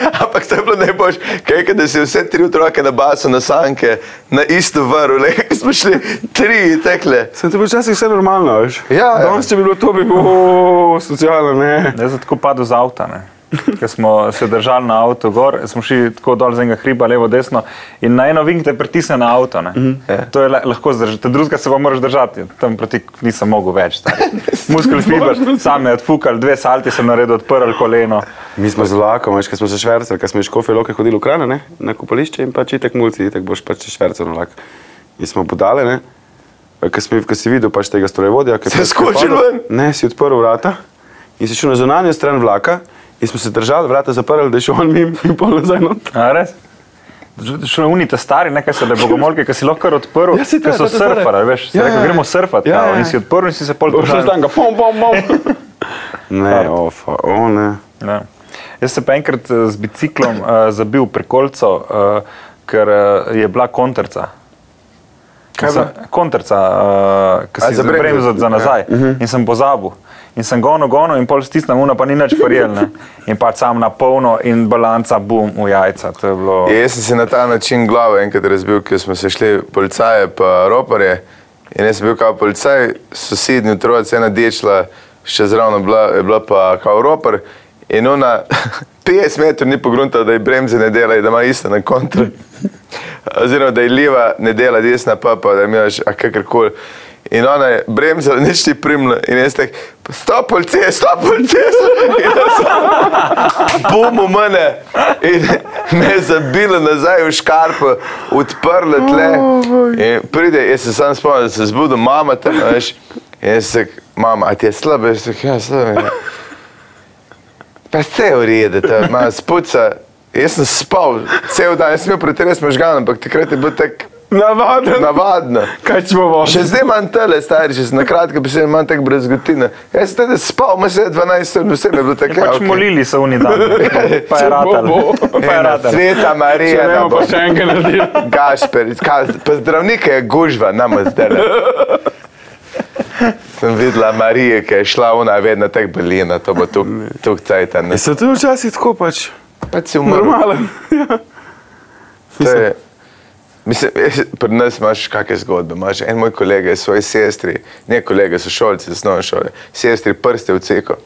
Speaker 1: Ampak to je bilo najboljše, kaj je, da si vse tri otroke na basu, na sanke, na isto vrv, le ko smo šli tri tekle.
Speaker 2: Se ti bo včasih vse normalno, veš?
Speaker 1: Ja, ja.
Speaker 2: Danes, če bi bilo to, bi bilo socialno, ne.
Speaker 3: Jaz sem tako padel z avta, ne. ker smo se držali na avtu gor, smo šli tako dol z enega hriba, levo, desno in na eno vink te pritisne na avto. Mm
Speaker 2: Mhm.
Speaker 3: -hmm. To je la- lahko zdržati, drugega se pa moraš držati, tam proti nisem mogel več. stari. Muskel fiber, sam je odfukal, dve salti sem naredil, odprl koleno.
Speaker 2: Mi smo z vlakom, veš, ko smo se švercali, ko smo iz Škofje Loke hodili v Kran, ne, na kopališče in pač itek mulci, itek boš pač švercal na vlak. In smo podali, ne, ko si, ko si videl pač tega strojevodja, ki je
Speaker 1: Se
Speaker 2: pač
Speaker 1: skočil
Speaker 2: pripadel-
Speaker 1: ven?
Speaker 2: Ne, si odprl vrata in si šel na zunanjo stran vlaka in smo se držali, vrata zaprli, da je šel on mimo in pol nazaj not.
Speaker 3: A res? Šlo je unita stari, nekaj se da bogomolke, ki si lahko kar odprl,
Speaker 2: Ja, saj to
Speaker 3: ker
Speaker 2: je,
Speaker 3: so
Speaker 2: to je to, ne.
Speaker 3: surfali, veš, si
Speaker 2: Ja,
Speaker 3: rekel,
Speaker 2: ja.
Speaker 3: gremo surfati,
Speaker 2: Ja,
Speaker 3: ja,
Speaker 2: ja.
Speaker 3: in si odprl in si se pol
Speaker 2: Šel
Speaker 3: držal.
Speaker 2: sem ga, pom, pom, pom. Ne, ofa, o ne.
Speaker 3: Ja. Jaz sem pa enkrat eh, z biciklom uh, zabil prikolico, uh, ker uh, je bila kontrca.
Speaker 2: Kaj je
Speaker 3: Sem- Kontrca, uh, ki
Speaker 1: A, Mhm.
Speaker 3: si
Speaker 1: za
Speaker 3: za
Speaker 1: bremzo.
Speaker 3: bremzo za nazaj. Ja. In sem pozabil. In sem gono, gono in pol stisnem, una pa ni nič prijel. In pa sam na polno in balanca, bum, v jajca. To je bilo.
Speaker 1: Jaz sem si na ta način glavo enkrat razbil, ker smo se šli policaje pa roparje. In jaz sem bil kao policaj, sosednji otroci, ena dečla, še zraven je bila, je bila pa kao ropar. In ona 50 metrov ni pogrunta, da je bremze ne dela in da ima ista na kontru. Oziroma, da je leva ne dela, desna pa pa, da imaš kakorkoli. In ona je bremzala, nič ti primla. In jaz tak, stop policija, stop policija. In jaz bom v mene in me zabila nazaj v škarpo, odprla tle. In pride, jaz se sam spomnim, da se zbudim, mama tam, a veš. In jaz se, mama, a ti je slabo, jaz se, ja, slabo. Pa se je urede, ta ima spuca. Jaz sem spal cel dan, jaz sem imel pretres možgan, ampak takrat je bilo tako
Speaker 2: Navaden.
Speaker 1: navadno.
Speaker 2: Kaj ćemo vožiti?
Speaker 1: Še zdaj imam tele, stari, če sem na kratko pisal, imam tako brezgotine. Jaz sem tede spal, imam se 12 ur, vse mi je bilo tako.
Speaker 3: Pač
Speaker 1: ja,
Speaker 3: okay.
Speaker 1: okej.
Speaker 3: molili so oni dan, pa je ratal.
Speaker 2: bo.
Speaker 3: Pa je
Speaker 1: Ena
Speaker 3: ratal.
Speaker 1: Sveta Marija,
Speaker 2: Če ne
Speaker 1: da
Speaker 2: bomo
Speaker 1: bo
Speaker 2: pa še enkrat naredili.
Speaker 1: Gašper, ka- pa zdravnike je gužva, nam zdaj. Sem videla Marijo, ki je šla ona vedno tako belina, to bo tu, tu cajta. ne.
Speaker 2: Se to je včasih tako pač.
Speaker 1: Pa si umrl.
Speaker 2: Normalen. Ja.
Speaker 1: To je- Mislim, jaz- pri nas imaš kakšne zgodbe. Imaš en moj kolega je svoji sestri, ne kolega, so šolci, osnovne šole, sestri prste v ceko.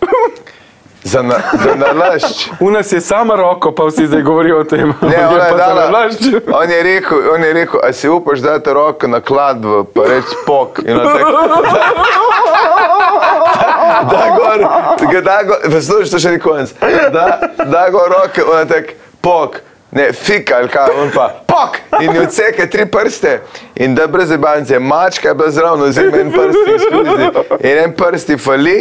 Speaker 1: Za, na, za nalašč.
Speaker 2: V nas je sama roko, pa vsi zdaj govorijo o tem.
Speaker 1: Ne, ona je dala,
Speaker 2: lažje.
Speaker 1: on je rekel, on je rekel, a si upaš dati roko na kladbo, pa reči pok. In on tako, da, da gor, ga da gor, poslušaj, to še ni konc. Da, da gor roke, on tako, pok. Ne, fika ali kaj, on pa, pok! In je odseke tri prste. In da brez banke, mačka je bila zraven, vzame en prst in spusti. In en prst ji fali,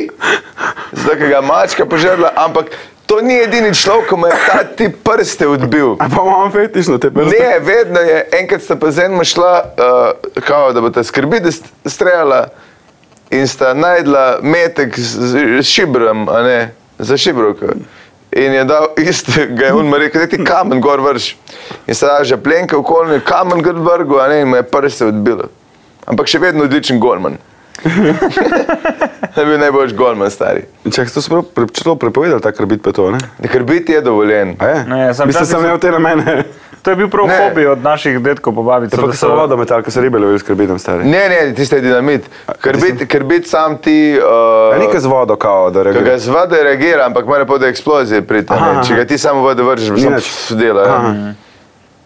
Speaker 1: zato ker ga je mačka požrla, ampak to ni edini človek, ki mu je ta ti prste odbil.
Speaker 2: A pa imamo fetiš na tebe.
Speaker 1: Ne, vedno je, enkrat sta pa z enim šla, uh, kao, da bo ta skrbi, da st- streljala in sta najdla metek z, z s šibrom, a ne, za šibrovko. In je dal isto, ga je on mu rekel, da ti kamen gor vrš. In sta že plenka okolni, kamen gor vrgo, a ne, in mu je prste odbilo. Ampak še vedno odličen golman. To je bil najboljši golman, stari.
Speaker 2: Čak, to smo pre, celo prepovedali, ta krbit peto, ne?
Speaker 1: Ker biti je dovoljen.
Speaker 2: A je?
Speaker 3: Ne, sem-
Speaker 2: Mislim, sem imel te namene.
Speaker 3: To je bil prav
Speaker 1: Ne.
Speaker 3: hobi od naših detkov po babici.
Speaker 2: Ampak Ja, so vodo metal, ko so ribe lovili s krbitom, stari.
Speaker 1: Ne, ne, tiste dinamit. Ker biti bit sam ti...
Speaker 2: A
Speaker 1: Uh,
Speaker 2: ni kaj z vodo, kao, da
Speaker 1: Ko ga
Speaker 2: reagiraš.
Speaker 1: zvada reagira, ampak mora pa do eksplozije priti. a ne.
Speaker 2: Aha,
Speaker 1: Če ga ti samo vode vržeš, bo samo
Speaker 2: nič.
Speaker 1: pf, dela. ja.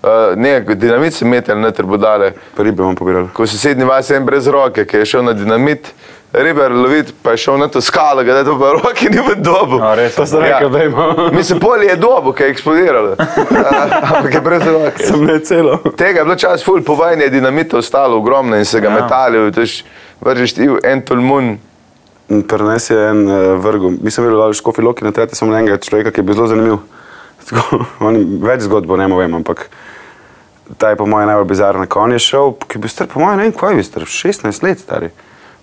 Speaker 1: Uh, ne, dinamit se metel na trbudale.
Speaker 2: Pa ribe bom pobiral.
Speaker 1: Ko sosednji vas je en brez roke, ki je šel na dinamit, riber lovit, pa je šel na to skalo, ga da to pa roke ni v dobu.
Speaker 3: A, res?
Speaker 2: To sem
Speaker 1: Ja.
Speaker 2: rekel, da imam.
Speaker 1: Mislim, polje je dobo, ki je eksplodiralo. A, Ampak je brez roke.
Speaker 2: Sem ne celo.
Speaker 1: Tega je bilo čas ful, povajanje je dinamita ostalo ogromno in se ga
Speaker 3: Ja.
Speaker 1: metali, veš, vržeš ti v en tolmun.
Speaker 2: In Prines je en uh, vrgo, mislim, da je bilo škofi Loki na tete, samo enega človeka, ki je bil zelo zanimiv. Tako, on, več zgodb ne vem, ampak ta je po mojem najbolj bizarna. Ko on je šel, ki je bil star, po mojem, ne vem, kaj je bil star, 16 let star.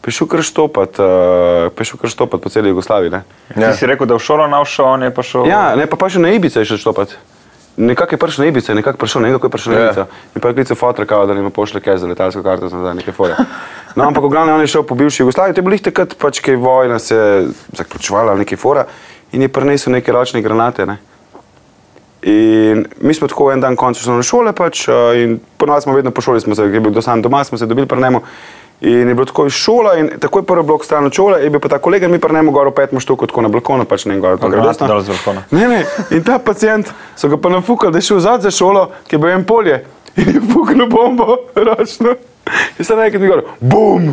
Speaker 2: Prišel kar štopat, uh, prišel kar štopat po celi Jugoslaviji. Ne?
Speaker 1: Ja.
Speaker 3: Ja. Ti si rekel, da je v šolo nav šel, on je pa šel.
Speaker 2: Ja, ne, pa, pa še na Ibice je šel štopat. Nekako je prišel na Ibice, nekako prišel, ne vem kako je prišel na
Speaker 1: Ja.
Speaker 2: Ibice. In pa je klical fotra, kao, da ne pošlje kaj za letalsko karto, sem zdaj neke fore. No, ampak v glavnem on je šel po bivši Jugoslaviji, to je bilo jih takrat, pač, ki je vojna se zaključovala, neke fora, in je prinesel neke ročne granate. Ne. In mi smo tako en dan končno šli na šole, pač, eh, in ponovadi smo vedno po šoli, smo se, ker je bil do sam doma, smo se dobili prnemo. In je bilo tako iz šola, in takoj prvi blok stran od šole, je bil pa ta kolega, in mi prnemo gor opet moštu, kot na balkonu, pač ne gor.
Speaker 3: Pa
Speaker 2: tako gre
Speaker 3: granato
Speaker 2: desno.
Speaker 3: dal z balkona.
Speaker 2: Ne, ne. In ta pacijent so ga pa nafukali, da je šel zadnje šolo, ki je bil en polje in je fuknil bombo, ročno. In se nekaj mi gor, bum!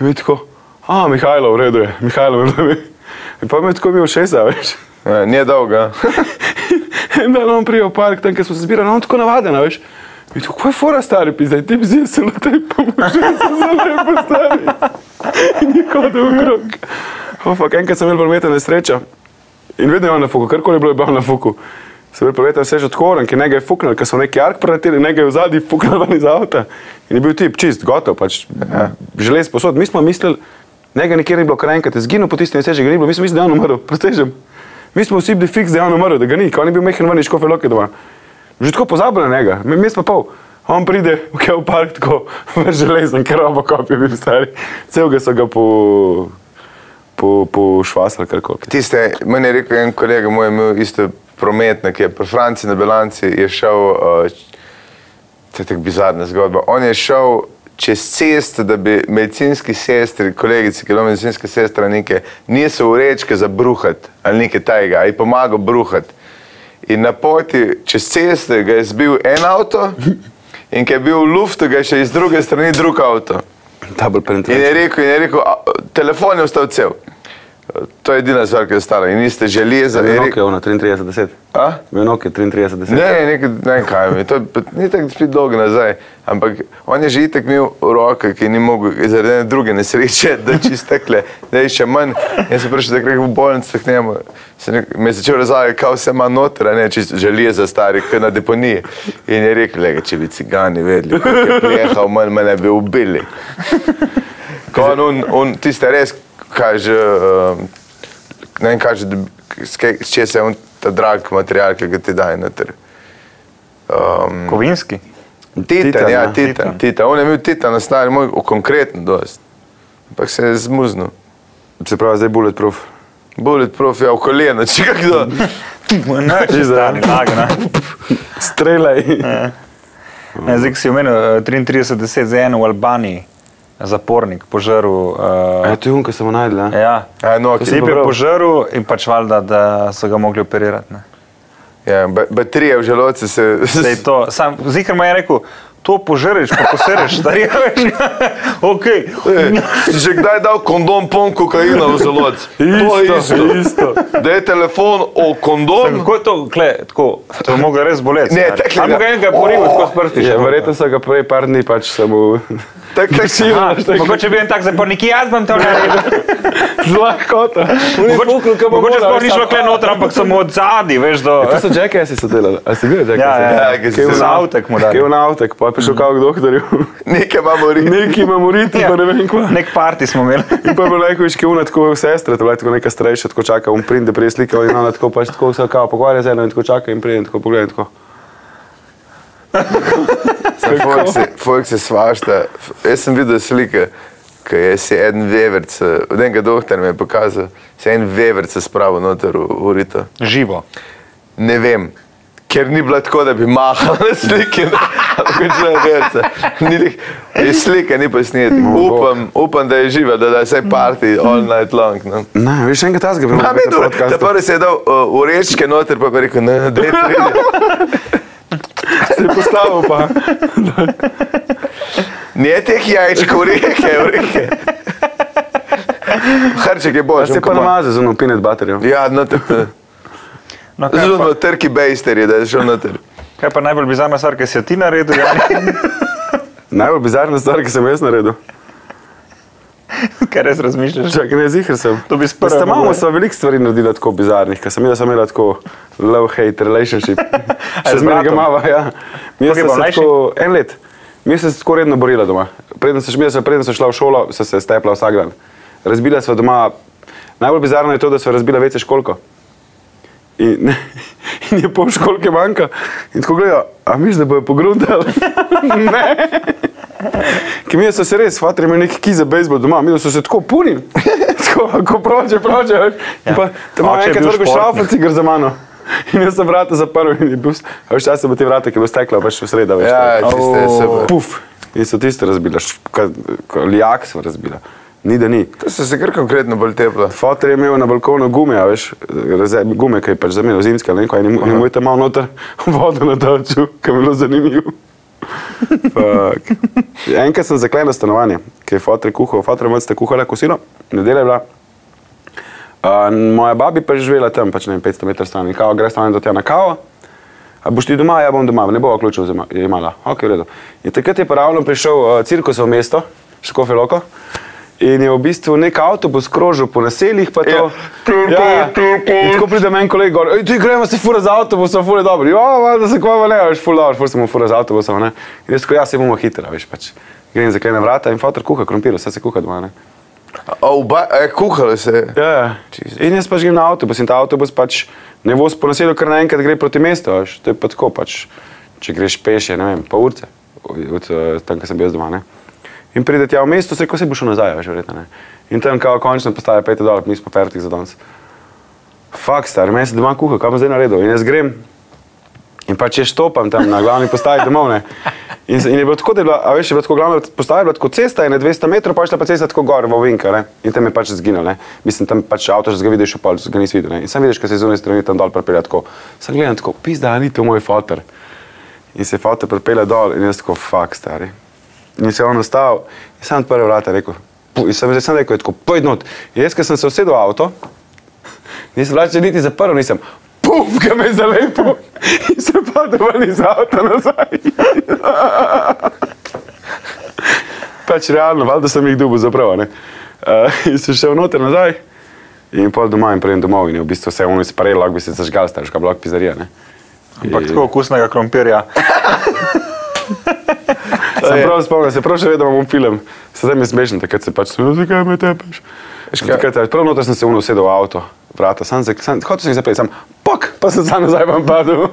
Speaker 2: In mi tako, a Mihajlo, v redu je, Mihajlo, v redu je. In pa mi je tako bil šesa, veš.
Speaker 1: Ja, Nije dolga.
Speaker 2: In da on prije v park, tam, kjer smo se zbirali, on tako navaden, a veš. In tako, kaj je fora stari, pizdaj, ti bi zdaj se lotil, pomožil sem se lepo stari. In je hodil v krog. Ofak, enkrat sem imel prometno nesrečo. In vedno je on na fuku, karkoli je bilo, je bil on na fuku. Sem bil prometno nesrečo od Horan, ki nekaj je fuknil, ker so neki ark preleteli, nekaj je v zadnji fuknil ven iz avta. In je bil tip čist, gotov, pač ja. želez posod. Mi smo mislili, nekaj nikjer ni bilo, kar enkrat je zginil, potisnil je sežeg, ni bilo, mi smo mislili, da je on umrl, pretežem. Mi smo vsi bili fiks, da je on umrl, da ga ni, ker on je bil mehen ven iz škofe loke doma. Že tako pozabili na njega, mi smo pa pol. On pride v Kev park tako, v železen, ker oba kopija bi stari. Celega so ga po, po, po švasali, kar koli.
Speaker 1: Tiste, meni je rekel en kolega, moj je imel isto prometnik, je pri Franciji na Belanci je šel, uh, to je tako bizarna zgodba, on je šel čez cest, da bi medicinski sestri, kolegici, ki je bila medicinska sestra, neke, niso urečke za bruhat ali nekaj tajega, ali pomagal bruhat. In na poti čez ceste ga je zbil en avto in ki je bil v luftu, ga je še iz druge strani drug avto. In
Speaker 2: Double
Speaker 1: je
Speaker 2: penetration.
Speaker 1: rekel, in je rekel a, telefon je ostal cel. To je edina stvar, ki je ostala. In niste železa. in je
Speaker 2: Venok je
Speaker 1: rekel-
Speaker 2: ono, 33-10.
Speaker 1: A?
Speaker 2: Venok je 33-10.
Speaker 1: Ne, ne, nekaj, ne, kaj mi, to je pa- ni tako spet dolgo nazaj, ampak on je že itek imel roke, ki ni mogel zaradi ene druge nesreče, da čistekle, da je še manj. Jaz sem prišel takrat v bolnico, k njemu, sem rekel- me je začel razlagati, kaj vse ima noter, a ne, če železa stari, kot na deponiji. In je rekel, "Glej, če bi cigani vedeli, kako je prijehal, manj mene bi ubili. Ko on, on, on tiste res kaže, um, ne vem, kaže, da, s kaj- s česa je on ta drag material, ki ga ti daje noter.
Speaker 3: Kovinski.
Speaker 1: Titan, titan,
Speaker 2: Titan,
Speaker 1: ja,
Speaker 2: ja.
Speaker 1: titan, titan. titan. On je imel titan, stari moj, o, konkretno dost. Ampak se je zmuznil.
Speaker 2: Se pravi, zdaj bulletproof.
Speaker 1: Bulletproof je v koleno, če ga kdo.
Speaker 3: Že zdaj. Lagna.
Speaker 2: Strelaj.
Speaker 3: Ne, zdaj, ki si omenil, eh, 33-10 za eno v Albaniji, zapornik, požrl.
Speaker 2: Ja,
Speaker 3: Uh,
Speaker 2: to je unka samo najdla.
Speaker 3: ja,
Speaker 1: A, no,
Speaker 2: si
Speaker 3: Tip
Speaker 1: okay.
Speaker 3: je
Speaker 2: pobral?
Speaker 3: požrl in pač valjda, da so ga mogli operirati. ne.
Speaker 1: ja, ba- baterije v želodcu se.
Speaker 3: Zdaj je to, sam Zikr mu je rekel, to požreš, pa posereš, da je več. Ok.
Speaker 1: Si že kdaj dal kondom pon kokaina v želodcu? To je isto.
Speaker 2: isto.
Speaker 1: Da je telefon o
Speaker 3: Sam,
Speaker 1: kondom.
Speaker 3: Kako je to, kle, tako, to je mogel res boleti.
Speaker 1: Ne,
Speaker 3: stari.
Speaker 1: takle
Speaker 3: Ampak
Speaker 1: ga-
Speaker 3: enega je poril,
Speaker 1: O,
Speaker 3: tako s prsti
Speaker 2: Ja,
Speaker 3: še.
Speaker 2: verjetno so ga prej par dni pač samo
Speaker 1: Tak, tak,
Speaker 3: Aha, Mogoče bi en tak zapornik, jaz bom to naredil.
Speaker 2: zlahkota.
Speaker 3: Mogoče mogoče sploh ni šlo kle noter, ampak samo od zadaj, veš, do...
Speaker 2: Ja, E, To so jackassi so delali. A si videl
Speaker 3: Ja,
Speaker 2: jackassi?
Speaker 3: ja, ja,
Speaker 1: Ja, ki
Speaker 3: ki je
Speaker 1: so-
Speaker 3: v avtek mu dal.
Speaker 2: Kaj je v avtek, pa je prišel kao k doktorju.
Speaker 1: Nekaj imamo riti.
Speaker 2: Neki ima moriti,
Speaker 3: Ja.
Speaker 2: pa ne vem kva.
Speaker 3: Nek parti smo imeli.
Speaker 2: In pa je bila neka viška una, tako sestra, to je bila tako neka starejša, tako čaka, um prinde, prej slika in ona tako pač tako vse kao pogovarja z eno in tako čaka in pride in tako pogleda in tako.
Speaker 1: Folk se, folk se svašta. F- Jaz sem videl slike. Ker jaz si en veverc, eh, enega doktor mi je pokazal, se je en veverc spravil noter v, v rito.
Speaker 3: Živo.
Speaker 1: Ne vem. Ker ni bilo tako, da bi mahal na sliki, ampak je šlo verce. Ni lih- Je slika, ni posneti. Upam, upam, da je živa, da da je vse party all night long. No.
Speaker 2: Ne, veš, enega tazga bi
Speaker 1: Mami, dobro, ta prvi se je dal uh, v rečke noter, pa je rekel, ne, da je to.
Speaker 2: Se je postavil pa.
Speaker 1: Ne teh jajčk, v reke, v reke. Hrček je bož.
Speaker 2: Se je pa namazal z eno peanut butterjo.
Speaker 1: Ja, noter.
Speaker 3: No, kaj,
Speaker 1: Zelo
Speaker 3: pa,
Speaker 1: na trki bejster je, da je šel noter.
Speaker 3: kaj pa najbolj bizarna stvar, ki si jo ti naredil? Jani?
Speaker 2: Najbolj bizarna stvar, ki sem jo jaz naredil.
Speaker 3: Kaj res razmišljaš?
Speaker 2: Čakaj, ne zihar sem.
Speaker 3: To bi sprva
Speaker 2: Ste malo
Speaker 3: mogoče.
Speaker 2: so veliko stvari naredila tako bizarnih, ker sem jaz imela tako love-hate relationship.
Speaker 3: z
Speaker 2: Še zmeraj ga
Speaker 3: bratom?
Speaker 2: mava, ja. Mi
Speaker 3: Koliko je bil
Speaker 2: smo
Speaker 3: mlajši?
Speaker 2: tako en let. Mi smo se tako redno borila doma. Preden sem, midva sva- preden sem šla v šolo, sem se stepla vsak dan. Razbila sva doma, najbolj bizarno je to, da sva razbila večje školko. In, in je pol školke manjka. In tako gledajo, a misliš, da bojo pogruntali? ne. Ki mi so se res, fatri imeli neki ki za bejzbol doma, mi so se tako punili. Tako, ko proče, proče. Ja. Pa, tam
Speaker 3: Oče
Speaker 2: imam
Speaker 3: je
Speaker 2: enkrat
Speaker 3: bil
Speaker 2: vrgo
Speaker 3: športnik.
Speaker 2: šrafanci, gre za mano. In jaz sem vrata zaprl in je bil, s- a veš, čas se bo ti vrata, ki bo stekla, pač v sredo, veš.
Speaker 1: Ja,
Speaker 2: tako.
Speaker 1: tiste je super.
Speaker 2: Puf. In so tiste razbila, lijak so razbila. Ni da ni.
Speaker 1: To so se kar konkretno bolj teplo.
Speaker 2: Fotor je imel na balkonu gume, a veš, raze, gume, ki je pač zamenjal zimske, ali nekaj, in mu- in mu je tam malo noter vodo natočil, ki je bilo zanimivo. Fuck. Enkrat sem zaklenil stanovanje, ki je fotor kuhal, fotor je mlada kuhala kosilo, nedelja je bila. Uh, moja babi pa je živela tam, pač ne vem, 500 metrov stran, in kao, greš tam do tja na kavo. A boš ti doma, ja bom doma, ne bo ključev zima- je imela. Okay, v redu. in takrat je pa ravno prišel uh, cirkus v mesto, Škofe Loko, in je v bistvu nek avtobus krožil po naseljih. pa to- Ja,
Speaker 1: Cirkus, cirkus.
Speaker 2: In tako pride meni kolega, gor, "Ej, ti gremo se fura z avtobusom, fura je dobro. Ja, valjda se kva ne, veš, fura dobro, fura se mu fura z avtobusom. Ne? In jaz rekel, ja, se bomo hitro, veš pač. Grem zaklene vrata in fotor kuha krompir, vse se kuha doma. Ne?
Speaker 1: O, ba, e, kuhalo se je.
Speaker 2: Ja, ja. In jaz pač grem na avtobus in ta avtobus pač ne voz po naselju, ker naenkrat gre proti mestu. veš. To je pa tako, pač, če greš peš, je, ne vem, pa urce, od, od eh, tam, kjer sem bil jaz doma. Ne? In pride tja v mesto, se ko se boš šel nazaj, veš, verjetno. ne. In tam kao končno postaje pete dol, mi smo fertik za danes. Fak star, meni se doma kuha, kam bom zdaj naredil. In jaz grem in pač jaz štopam tam na glavni postaji domov. Ne? In, se- in je bilo tako, da je bila, a veš, je bila tako glavna postaja, je bila tako cesta, ene 200 metrov, pa je šla pa cesta tako gor v Vinka, ne? in tam je pač zginil, ne? mislim, tam pač avto, že ga vidiš, pa ga nisi videl, ne? in sam vidiš, kaj se zunaj strani tam dol prepelje tako. Sam gledam tako, pizda, a ni to moj fotor. In se je fotor prepelje dol in jaz tako, fak, stari. In se je on ostal, in sam odprl vrata, rekel, "Pu-" in sem, sem rekel, tako, pojd not. In jaz, ker sem se usedel v avto, Nisem vračal niti za prvo, nisem. Puf, ga me je zalepo in se padel ven iz avta nazaj. pač realno, valjda sem jih dubo zapravo. Uh, in sem šel noter nazaj in pol doma in prejem domov in je v bistvu se on izparel, lahko bi se zažgal, starška blok pizzerija. Ne? Ja,
Speaker 3: Ampak tako okusnega krompirja.
Speaker 2: Sem prav spomnil, se prav še vedno imam film, sedaj mi je smešen, takrat se pač spomnim, zakaj me tepeš.
Speaker 1: kaj?
Speaker 2: Takrat, je- prav noter sem se unosedel v avto, vrata, sam, se- sam, hotel sem jih zapreti, sam, pok, pa sem sam nazaj vam padel.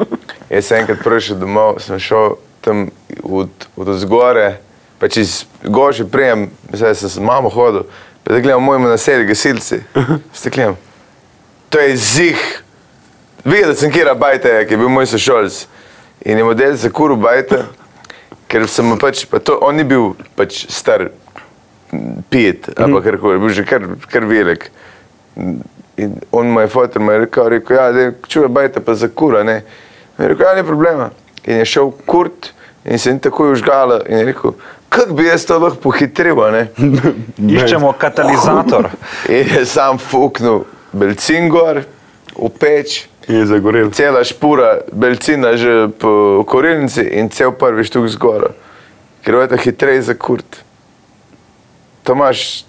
Speaker 1: Jaz sem enkrat prišel domov, sem šel tam od, od zgore, pa čez gože prijem, zdaj sem s mamo hodil, pa da gledam mojemu naselju gasilci, stekljam. To je zih. Videl sem Kira Bajta, ki je bil moj sošolc in je model za kuru Bajta, ker sem mu pač, pa to, on ni bil pač star pijet, ali pa karkoli, je bil že kar, kar velik. In on mu je fotor, mu je rekel, rekel ja, da čuje bajta pa za kura, ne. In je rekel, ja, ni problema. In je šel kurt in se ni takoj užgala in je rekel, kak bi jaz to lahko pohitril, a ne.
Speaker 3: Iščemo katalizator.
Speaker 1: In je sam fuknil belcin gor, v peč,
Speaker 2: Je zagorel.
Speaker 1: cela špura belcina že po korilnici in cel prvi štuk zgora. Ker je ta hitreje za kurt. Tomaš,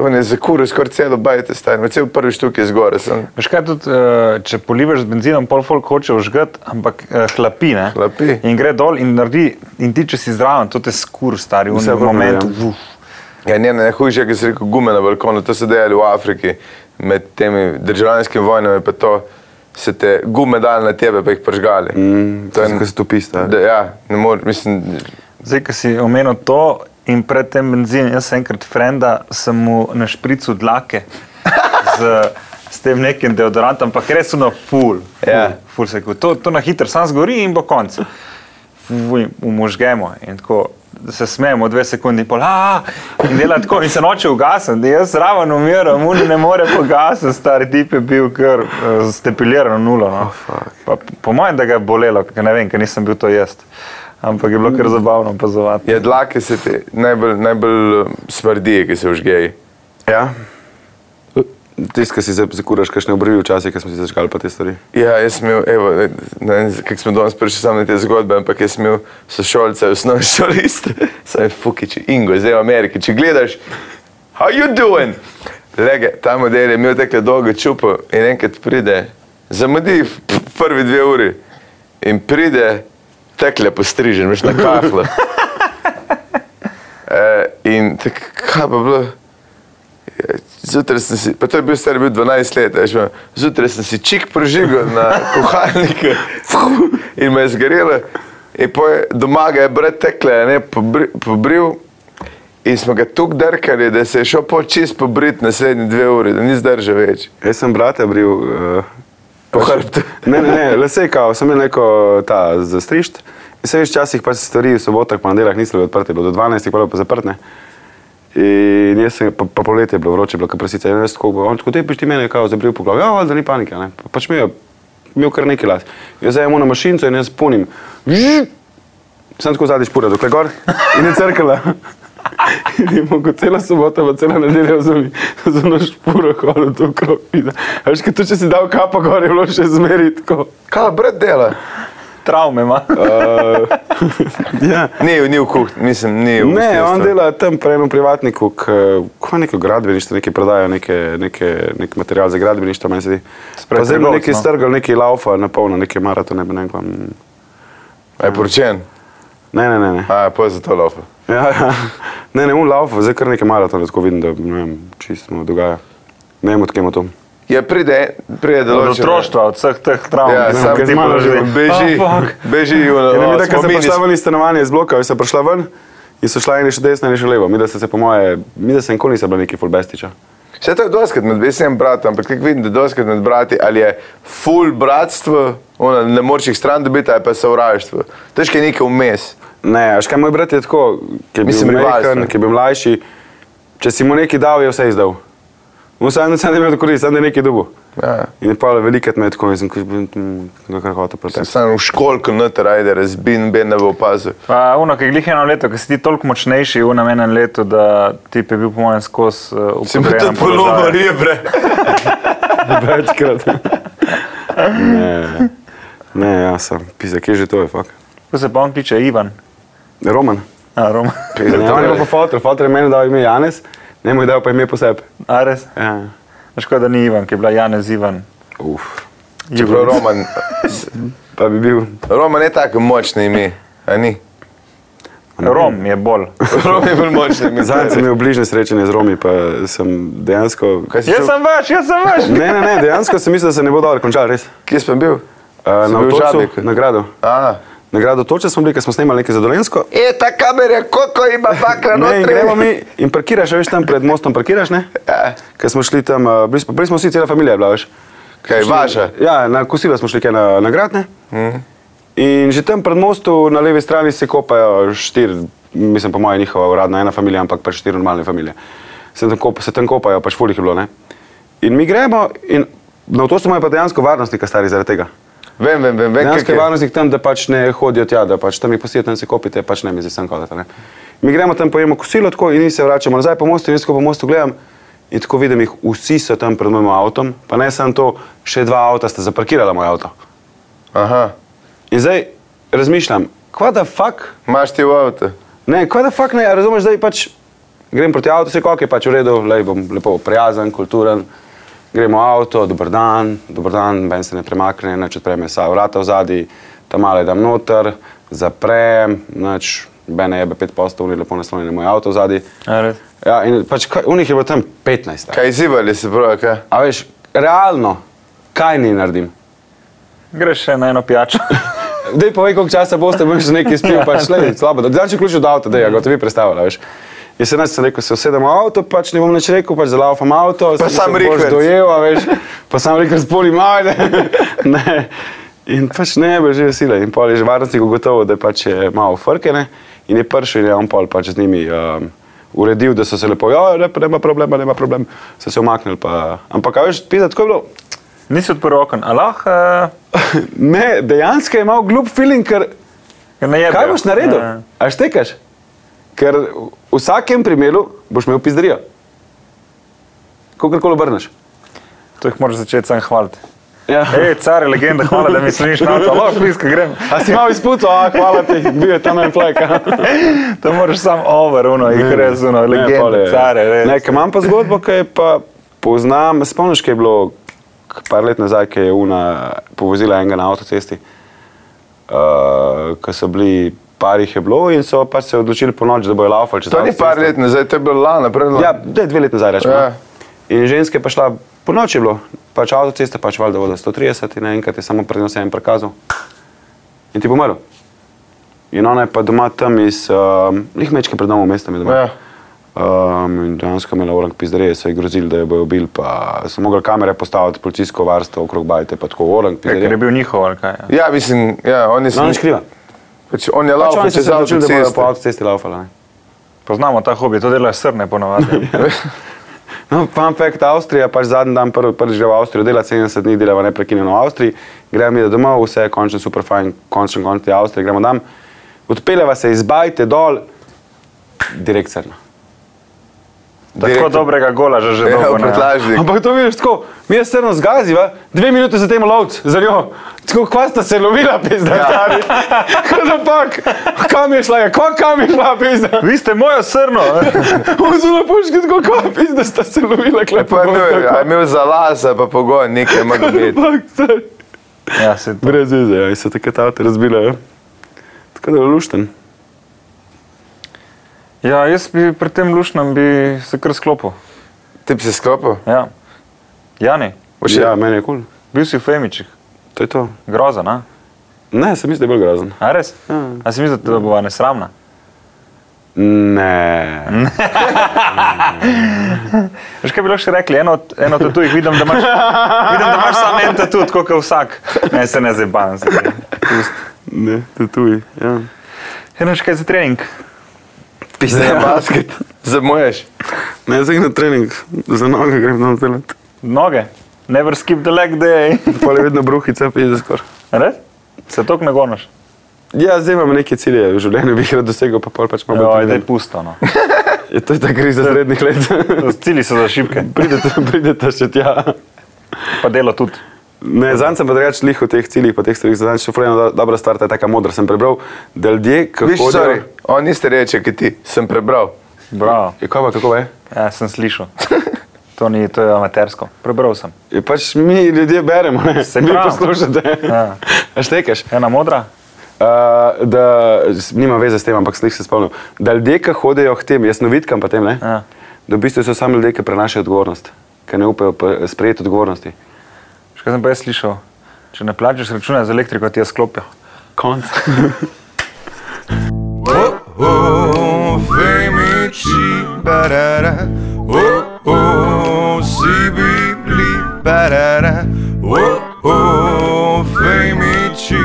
Speaker 1: on je za kurt skoraj celo bajte stajno, cel prvi štuk je zgora. Sem.
Speaker 3: Veš kaj, tudi, eh, če polivaš z benzinom, pol folk hoče užgati, ampak eh, hlapi, ne?
Speaker 1: Hlapi.
Speaker 3: In gre dol in naredi, in ti, če si zraven, to te skur, stari, v
Speaker 2: Vse
Speaker 3: enem
Speaker 2: prav,
Speaker 3: momentu.
Speaker 2: ja.
Speaker 3: uf.
Speaker 1: Ja, ne, ne, hujše, ki si rekel gume na balkonu, to se dejali v Afriki med temi državljanskimi vojnami, pa to se te gume dali na tebe, pa jih pržgali. Mm,
Speaker 2: to se, ko se topi, stari.
Speaker 1: Ja, ne moreš, mislim,
Speaker 3: Zdaj, ki si omenil to in predtem benzin. Jaz sem enkrat frenda, sem mu na špricu dlake z, s tem nekim deodorantom, ampak res na full.
Speaker 1: Ja.
Speaker 3: Ful se kot to, to na hitro, sam zgori in bo konc. Fuj, Umožgemo in tako se smejemo, dve sekundi in pol, "A!" in dela tako, in se noče ugasniti, jaz zraven umiram, mu ne more pogasniti, stari tip je bil kar eh, stepiliran nulo.
Speaker 1: Oh,
Speaker 3: No. Pa, po mojem, da ga je bolelo, ker ne vem, ker nisem bil to jaz. Ampak je bilo kar zabavno opazovati.
Speaker 1: Ja, dlake se ti najbolj, najbolj um, smrdi, ki se užgeji.
Speaker 2: Ja. Eh. Tisti, ki si za- zakuraš, kakšne obrvi včasih, ki smo si začkali pa te stvari.
Speaker 1: Ja, jaz sem imel, evo, ne- ne vem, kako smo danes prišli samo na te zgodbe, ampak jaz sem imel sošolce, osnovni šolist, saj fukič, Ingo, zdaj v Ameriki, če gledaš, how you doing? Lege, ta model je imel tako dolgo čupo in enkrat pride, zamudi v p- prvi dve uri in pride, tekle postrižen, veš na kahlo. E, in tako, kaj pa bilo? Zjutraj sem si, pa to je bil star bil 12 let, a veš, imam, zjutraj sem si čik prožigal na kuhalniku in me je zgorelo. In poj, doma ga je brat tekle, ne, pobri- pobril. In smo ga tukaj drkali, da se je šel po čist pobrit naslednji dve uri, da ni zdržal več.
Speaker 2: Jaz sem brata bril. Uh,
Speaker 1: Po hrbtu.
Speaker 2: Ne, ne, ne, le se kao, sem imel neko ta zastrišt. In se veš, včasih pa se stvari v sobotah, pa na delah niso bile odprte, bilo do 12, pa bilo pa zaprtne. In jaz sem, pa, pa poletje je bilo vroče, bilo kaprasice, in jaz tako, on tako, te piš ti mene, kao zabril po glavi, ja, valjda ni panike, ne, pa, pač mi je, mi je kar neki las. Jaz zajemu na mašinco in jaz punim, sem tako zadnji špura, dokler gor in je crkala. In je mogel celo soboto, pa celo nedeljo zunaj, zunaj špuro hodil to krog. Veš, kaj tu če si dal kapo gor, je bilo še zmeri tako.
Speaker 1: Kaj brat dela?
Speaker 3: Travme ima.
Speaker 2: Uh, ja.
Speaker 1: Ni, ni v kuhinji, mislim, ni v
Speaker 2: Ne, on
Speaker 1: gostinstvu.
Speaker 2: dela tam pri enem privatniku, ko neko gradbeništvo, nekaj prodaja, neke, neke, nek material za gradbeništvo, meni se zdi. Pa Zdaj bo
Speaker 3: trgovec,
Speaker 2: neki
Speaker 3: no.
Speaker 2: strgal, neki laufa na polno, neke maratone, ne vem kam.
Speaker 1: A Je poročen,
Speaker 2: Ne, ne, ne. ne.
Speaker 1: a pa za to lofa.
Speaker 2: Ja, ja. Ne, ne, v laufu, zdaj kar nekaj maratone, tako vidim, da ne vem, čisto dogaja. Ne vem, odkje ima to.
Speaker 1: Ja, pride, pride
Speaker 3: Od
Speaker 1: določen.
Speaker 3: No, otroštva, od vseh teh travm,
Speaker 1: Ja,
Speaker 3: ki
Speaker 1: sam
Speaker 3: sem jih
Speaker 2: ker
Speaker 1: ti
Speaker 3: ti
Speaker 2: malo
Speaker 1: malo
Speaker 2: že
Speaker 3: položil.
Speaker 1: že beži,
Speaker 3: Ah, fuck.
Speaker 1: beži v
Speaker 2: Ja, ne, mi, da, ko
Speaker 1: smo
Speaker 2: sem
Speaker 1: mi
Speaker 2: prišla ven iz stanovanja, iz bloka, sem prišla ven in so šla ena še desna, ena še levo. Mi, da se, se po moje, mi, da se nikoli nisem bila neki fulbestiča.
Speaker 1: Vse to je doskrat med vsem bratom, ampak kako vidim, da je doskrat med brati ali je full bratstvo, ono, ne moreš jih stran dobiti, ali pa sovraštvo. Težko je nekaj vmes.
Speaker 2: Ne, veš kaj, moj brat je tako, ki je bil
Speaker 1: Mislim, rivalstvo.
Speaker 2: Amerikan, ki je bil mlajši, če si mu nekaj dal, je vse izdal. Vsaj en sem imel korist, sam da je nekaj dubo.
Speaker 1: Ja.
Speaker 2: In je pa velikrat me je tako, jaz sem kot kar hotel proti.
Speaker 1: Sam v školku noter, ajde, razbin, ben ne bo opazil.
Speaker 3: Pa, uno, ki je glih eno leto, ki si ti toliko močnejši v namenem letu, da ti je bil po mojem skozi uh,
Speaker 1: Si mu tudi
Speaker 3: upodrejen
Speaker 1: polomil rebre.
Speaker 2: Večkrat. ne, ne, ja, sem, pisa, kje že to je, fakt.
Speaker 3: Ko se pa on kliče Ivan,
Speaker 2: Roman.
Speaker 3: a Roma,
Speaker 2: Ne, on je pa fotor, fotor je meni dal ime Janez, ne mu je dal pa ime po sebi.
Speaker 3: a res.
Speaker 2: Ja.
Speaker 3: Škoda, da ni Ivan, ki je bila Janez Ivan.
Speaker 2: Uf.
Speaker 1: Čeprav Roman,
Speaker 2: Pa bi bil.
Speaker 1: Roman je tako močno ime, a ni?
Speaker 3: Rom je bolj.
Speaker 1: Roman je bolj močno ime.
Speaker 2: Zadnjič sem imel bližnje srečanje z Romi, pa sem dejansko.
Speaker 1: Kaj si
Speaker 3: Jaz
Speaker 1: šel?
Speaker 3: sem vaš, jaz sem vaš.
Speaker 2: Ne, ne, ne, dejansko sem mislil, da se ne bo dobro končal, res.
Speaker 1: Kje sem bil?
Speaker 2: Uh,
Speaker 1: Si
Speaker 2: na
Speaker 1: bil v
Speaker 2: avtobusu,
Speaker 1: Žabljaku?
Speaker 2: na gradu.
Speaker 1: A.
Speaker 2: Na gradu toče smo bili, ker smo snemali nekaj za Dolensko.
Speaker 1: E, ta kamera, je, koliko ima bakra
Speaker 2: Ne, in
Speaker 1: notri?
Speaker 2: gremo mi in parkiraš, a veš tam pred mostom, parkiraš, ne?
Speaker 1: Ja.
Speaker 2: Ker smo šli tam, eh, bili smo, bili smo vsi, cela familija je bila, veš.
Speaker 1: Kaj,
Speaker 2: Šli-
Speaker 1: vaša? Mhm.
Speaker 2: Ja, na kosila smo šli kaj na, na grad, ne? In že tam pred mostom na levi strani se kopajo štiri, mislim, po mojem, njihova uradna ena familija, ampak pač štiri normalne familije. Se tam, kop, se tam kopajo, pač fulih je bilo, ne? In mi gremo in no, na avtobusu imajo pa dejansko varnostnika stari zaradi tega.
Speaker 1: Vem, vem, vem, vem.
Speaker 2: Dejansko
Speaker 1: kako
Speaker 2: je
Speaker 1: je.
Speaker 2: varnostnik tam, da pač ne hodijo tja, da pač tam jih posijete, tam se kopite, pač ne mi zdaj sem hodite. Ne. Mi gremo tam, pojemo kosilo tako in se vračamo nazaj po mostu in jaz ko po mostu gledam in tako vidim jih, vsi so tam pred mojim avtom, pa ne samo to, še dva avta sta zaparkirala moj avto.
Speaker 1: Aha,
Speaker 2: In zdaj razmišljam, kva da fakt,
Speaker 1: imaš ti v avtu.
Speaker 2: ne, kva da fakt ne, a razumeš, zdaj pač grem proti avtu, se koliko je pač v redu, lej bom lepo prijazen, kulturen. Gremo v avto, dober dan, dober dan, ben se ne premakne, neč odpreme sa vrata v zadnji, tam male dam noter, zaprem, neč, ben je 5 postov, ni lepo naslonjen na moj avto v zadnji.
Speaker 3: A res.
Speaker 2: Ja, in pač kaj- unih je bilo tam 15. a.
Speaker 1: Kaj izzivali se pravi, kaj?
Speaker 2: A veš, realno, kaj ni naredim?
Speaker 3: Greš še na eno pijačo.
Speaker 2: Dej povej, koliko časa boste bom še nekaj spil,
Speaker 1: Ja.
Speaker 2: pač le, slabo. Zdaj, če ključ od avta, da je
Speaker 1: Mm.
Speaker 2: gotovi predstavlja, veš. Jaz sem se rekel, se usedem v avto, pač ne bom nič rekel, pač zalaufam avto,
Speaker 1: Pa
Speaker 2: sem
Speaker 1: sam
Speaker 2: se boš
Speaker 1: Rikverc.
Speaker 2: dojel, a veš, pa sam rekel, spoli majde. ne. In pač ne, bo že vesela. In pol je že varnostnik ugotovil, da pač je malo frkene in je prišel in je on pol pač z njimi um, uredil, da so se lepo, ja, ne, nema problema, nema problema, so se umaknili. Pa. Ampak, a veš, pita, tako je bilo,
Speaker 3: Nisi odprl okon, alah, eh,
Speaker 2: ne, dejansko je imel glup feeling, ker
Speaker 3: ker ne Eh, je.
Speaker 2: Kaj boš naredil? A štekaš? Ker v vsakem primeru boš imel pizdrijo. Kakorkoli obrneš.
Speaker 3: To jih moraš začeti sam hvaliti.
Speaker 2: Ja.
Speaker 3: Hej, car je legenda, hvala, da mi slediš na to, alah, blisko grem.
Speaker 2: A si imel izpucal, a hvala ti, bil je tam en flek.
Speaker 3: To moraš sam over, uno, jih res, uno, legenda, care, res.
Speaker 2: Ne, ker imam pa zgodbo, ki je pa poznam, spomniš, kaj je bilo k- par let nazaj, ki je Una povozila enega na avtocesti. Uh, ko so bili, par jih je bilo in so pač se odločili po noč, da bojo laufali. čez
Speaker 1: To ni par
Speaker 2: avtocesto.
Speaker 1: let nazaj, to je bilo lani, predlani.
Speaker 2: Ja, da je dve leti nazaj rečemo.
Speaker 1: Ja.
Speaker 2: Ja. In ženske je pa šla, po noči je bilo, pač avtocesta, pač valjda voda 130 in enkrat je samo pred nosem prikazal. In ti bo umrl. In ona je pa doma tam iz, um, lih mečke pred domom, mestom je doma.
Speaker 1: Ja.
Speaker 2: Um, in dejansko je imela orang pizdarije, so ji grozili, da jo bojo bil, pa so mogli kamere postaviti, policijsko varstvo okrog bajte, pa tako orang
Speaker 3: Ja, Ker je
Speaker 2: pizdarije.
Speaker 3: bil njihov ali kaj. ja.
Speaker 1: ja, mislim, ja, oni so...
Speaker 2: No, nič kriva.
Speaker 1: Pač on je
Speaker 2: Pač
Speaker 1: laufal
Speaker 2: oni so
Speaker 1: čez
Speaker 2: se odločili, da bojo po
Speaker 1: avtoceste.
Speaker 2: avtocesti laufala. Ne?
Speaker 3: Poznamo ta hobi, to delajo srne ponavadi.
Speaker 2: Ja, No, fun fact, Avstrija, pač zadnji dan, prvi, prvič gre v Avstrijo, dela 70 dni, dela neprekinjeno v Avstriji, gremo mi domov, vse je končno super fajn, končno konc te Avstrije, gremo tam, odpeljeva se iz Bajte dol, direkt crno.
Speaker 3: Tako
Speaker 1: Direktno.
Speaker 3: dobrega gola že že
Speaker 1: Ja,
Speaker 3: dolgo
Speaker 1: v
Speaker 3: ne.
Speaker 1: prtljažnik.
Speaker 2: Ampak to vidiš tako, mi je crno zgaziva, dve minuti za tem lovc, za njo, tako kva sta se lovila, pizda, stari. Kaj da pak, kam je šla, je, kva kam je šla, pizda.
Speaker 3: Vi ste mojo srno!
Speaker 2: Vzula puški, tako kva, pizda sta se lovila,
Speaker 1: Ja,
Speaker 2: klepa.
Speaker 1: Pa je imel, a je imel za las, pa pogon, nekaj ima gledati.
Speaker 3: ja, se to.
Speaker 2: Brez veze, ja, in se takrat avto razbila. Ja. Tako da je lušten.
Speaker 3: Ja, jaz bi pri tem lušnem bi se kar sklopil.
Speaker 1: Ti bi se sklopil?
Speaker 3: Ja. Jani,
Speaker 1: Boš
Speaker 2: Ja, meni je kul. Cool.
Speaker 3: bil si v Femičih,
Speaker 2: To je to.
Speaker 3: grozen, a?
Speaker 2: Ne, sem mislil, da je bolj grozen.
Speaker 3: A res?
Speaker 2: Ja.
Speaker 3: A si mislil, da bo nesramna?
Speaker 2: Ne.
Speaker 3: Veš kaj bi lahko še rekli, eno, od- eno tatu jih vidim, da imaš, vidim, da imaš samo en tatu, tako kot vsak. Ne, se ne zebam. se ne. Pust.
Speaker 2: Ne, tatuji. Ja.
Speaker 3: Eno še kaj za trening.
Speaker 1: Pizda je basket, zamuješ.
Speaker 2: Ne, zdaj grem na trening, za noge grem na telet.
Speaker 3: Noge. Never skip the leg day.
Speaker 2: Pol je vedno bruhica, pizda skoraj.
Speaker 3: A Res? Se tok ne gonaš.
Speaker 2: Ja, zdaj imam neke cilje v življenju, bi jih rad dosegel, pa pol pač malo
Speaker 3: Ja,
Speaker 2: bolj.
Speaker 3: da je
Speaker 2: trenim.
Speaker 3: pusto. No.
Speaker 2: Je to je ta kriza srednjih let.
Speaker 3: Cili so za šipke,
Speaker 2: Pridete, pridete še tja.
Speaker 3: pa delo tudi.
Speaker 2: Ne, zanj sem pa drugač lih v teh ciljih, pa teh stvarih, zanj še fulejno do, dobra stvar, ta je taka modra, sem prebral, da ljudje, kako
Speaker 1: Viš, sorry, on niste reče, ki ti sem prebral.
Speaker 3: Bravo.
Speaker 2: Je kava, kako eh? je?
Speaker 3: Ja, sem slišal. To ni, to je amatersko. Prebral sem.
Speaker 2: Je pač mi ljudje beremo, ne
Speaker 3: Se
Speaker 2: vi
Speaker 3: pravi.
Speaker 2: poslušate.
Speaker 3: Ja.
Speaker 2: A štekaš?
Speaker 3: Ena modra?
Speaker 2: Uh, da, s- nima veze s tem, ampak slih se spomnim. Da ljudje, ki hodijo k tem, jaz novitkam pa tem, ne?
Speaker 3: Ja.
Speaker 2: Da v bistvu so sami ljudje, ki prenašajo odgovornost, ki ne upajo pa- sprejeti odgovornosti.
Speaker 3: Še kaj sem pa jaz slišal? Če ne plačeš računa za elektriko, ti je sklopijo.
Speaker 2: Konc.
Speaker 1: Oh, femiči, barara, oh, oh, si bi bili, barara, oh, oh, femiči.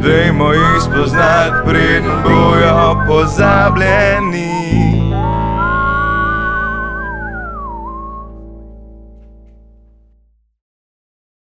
Speaker 1: Dajmo jih spoznati, preden bojo pozabljeni.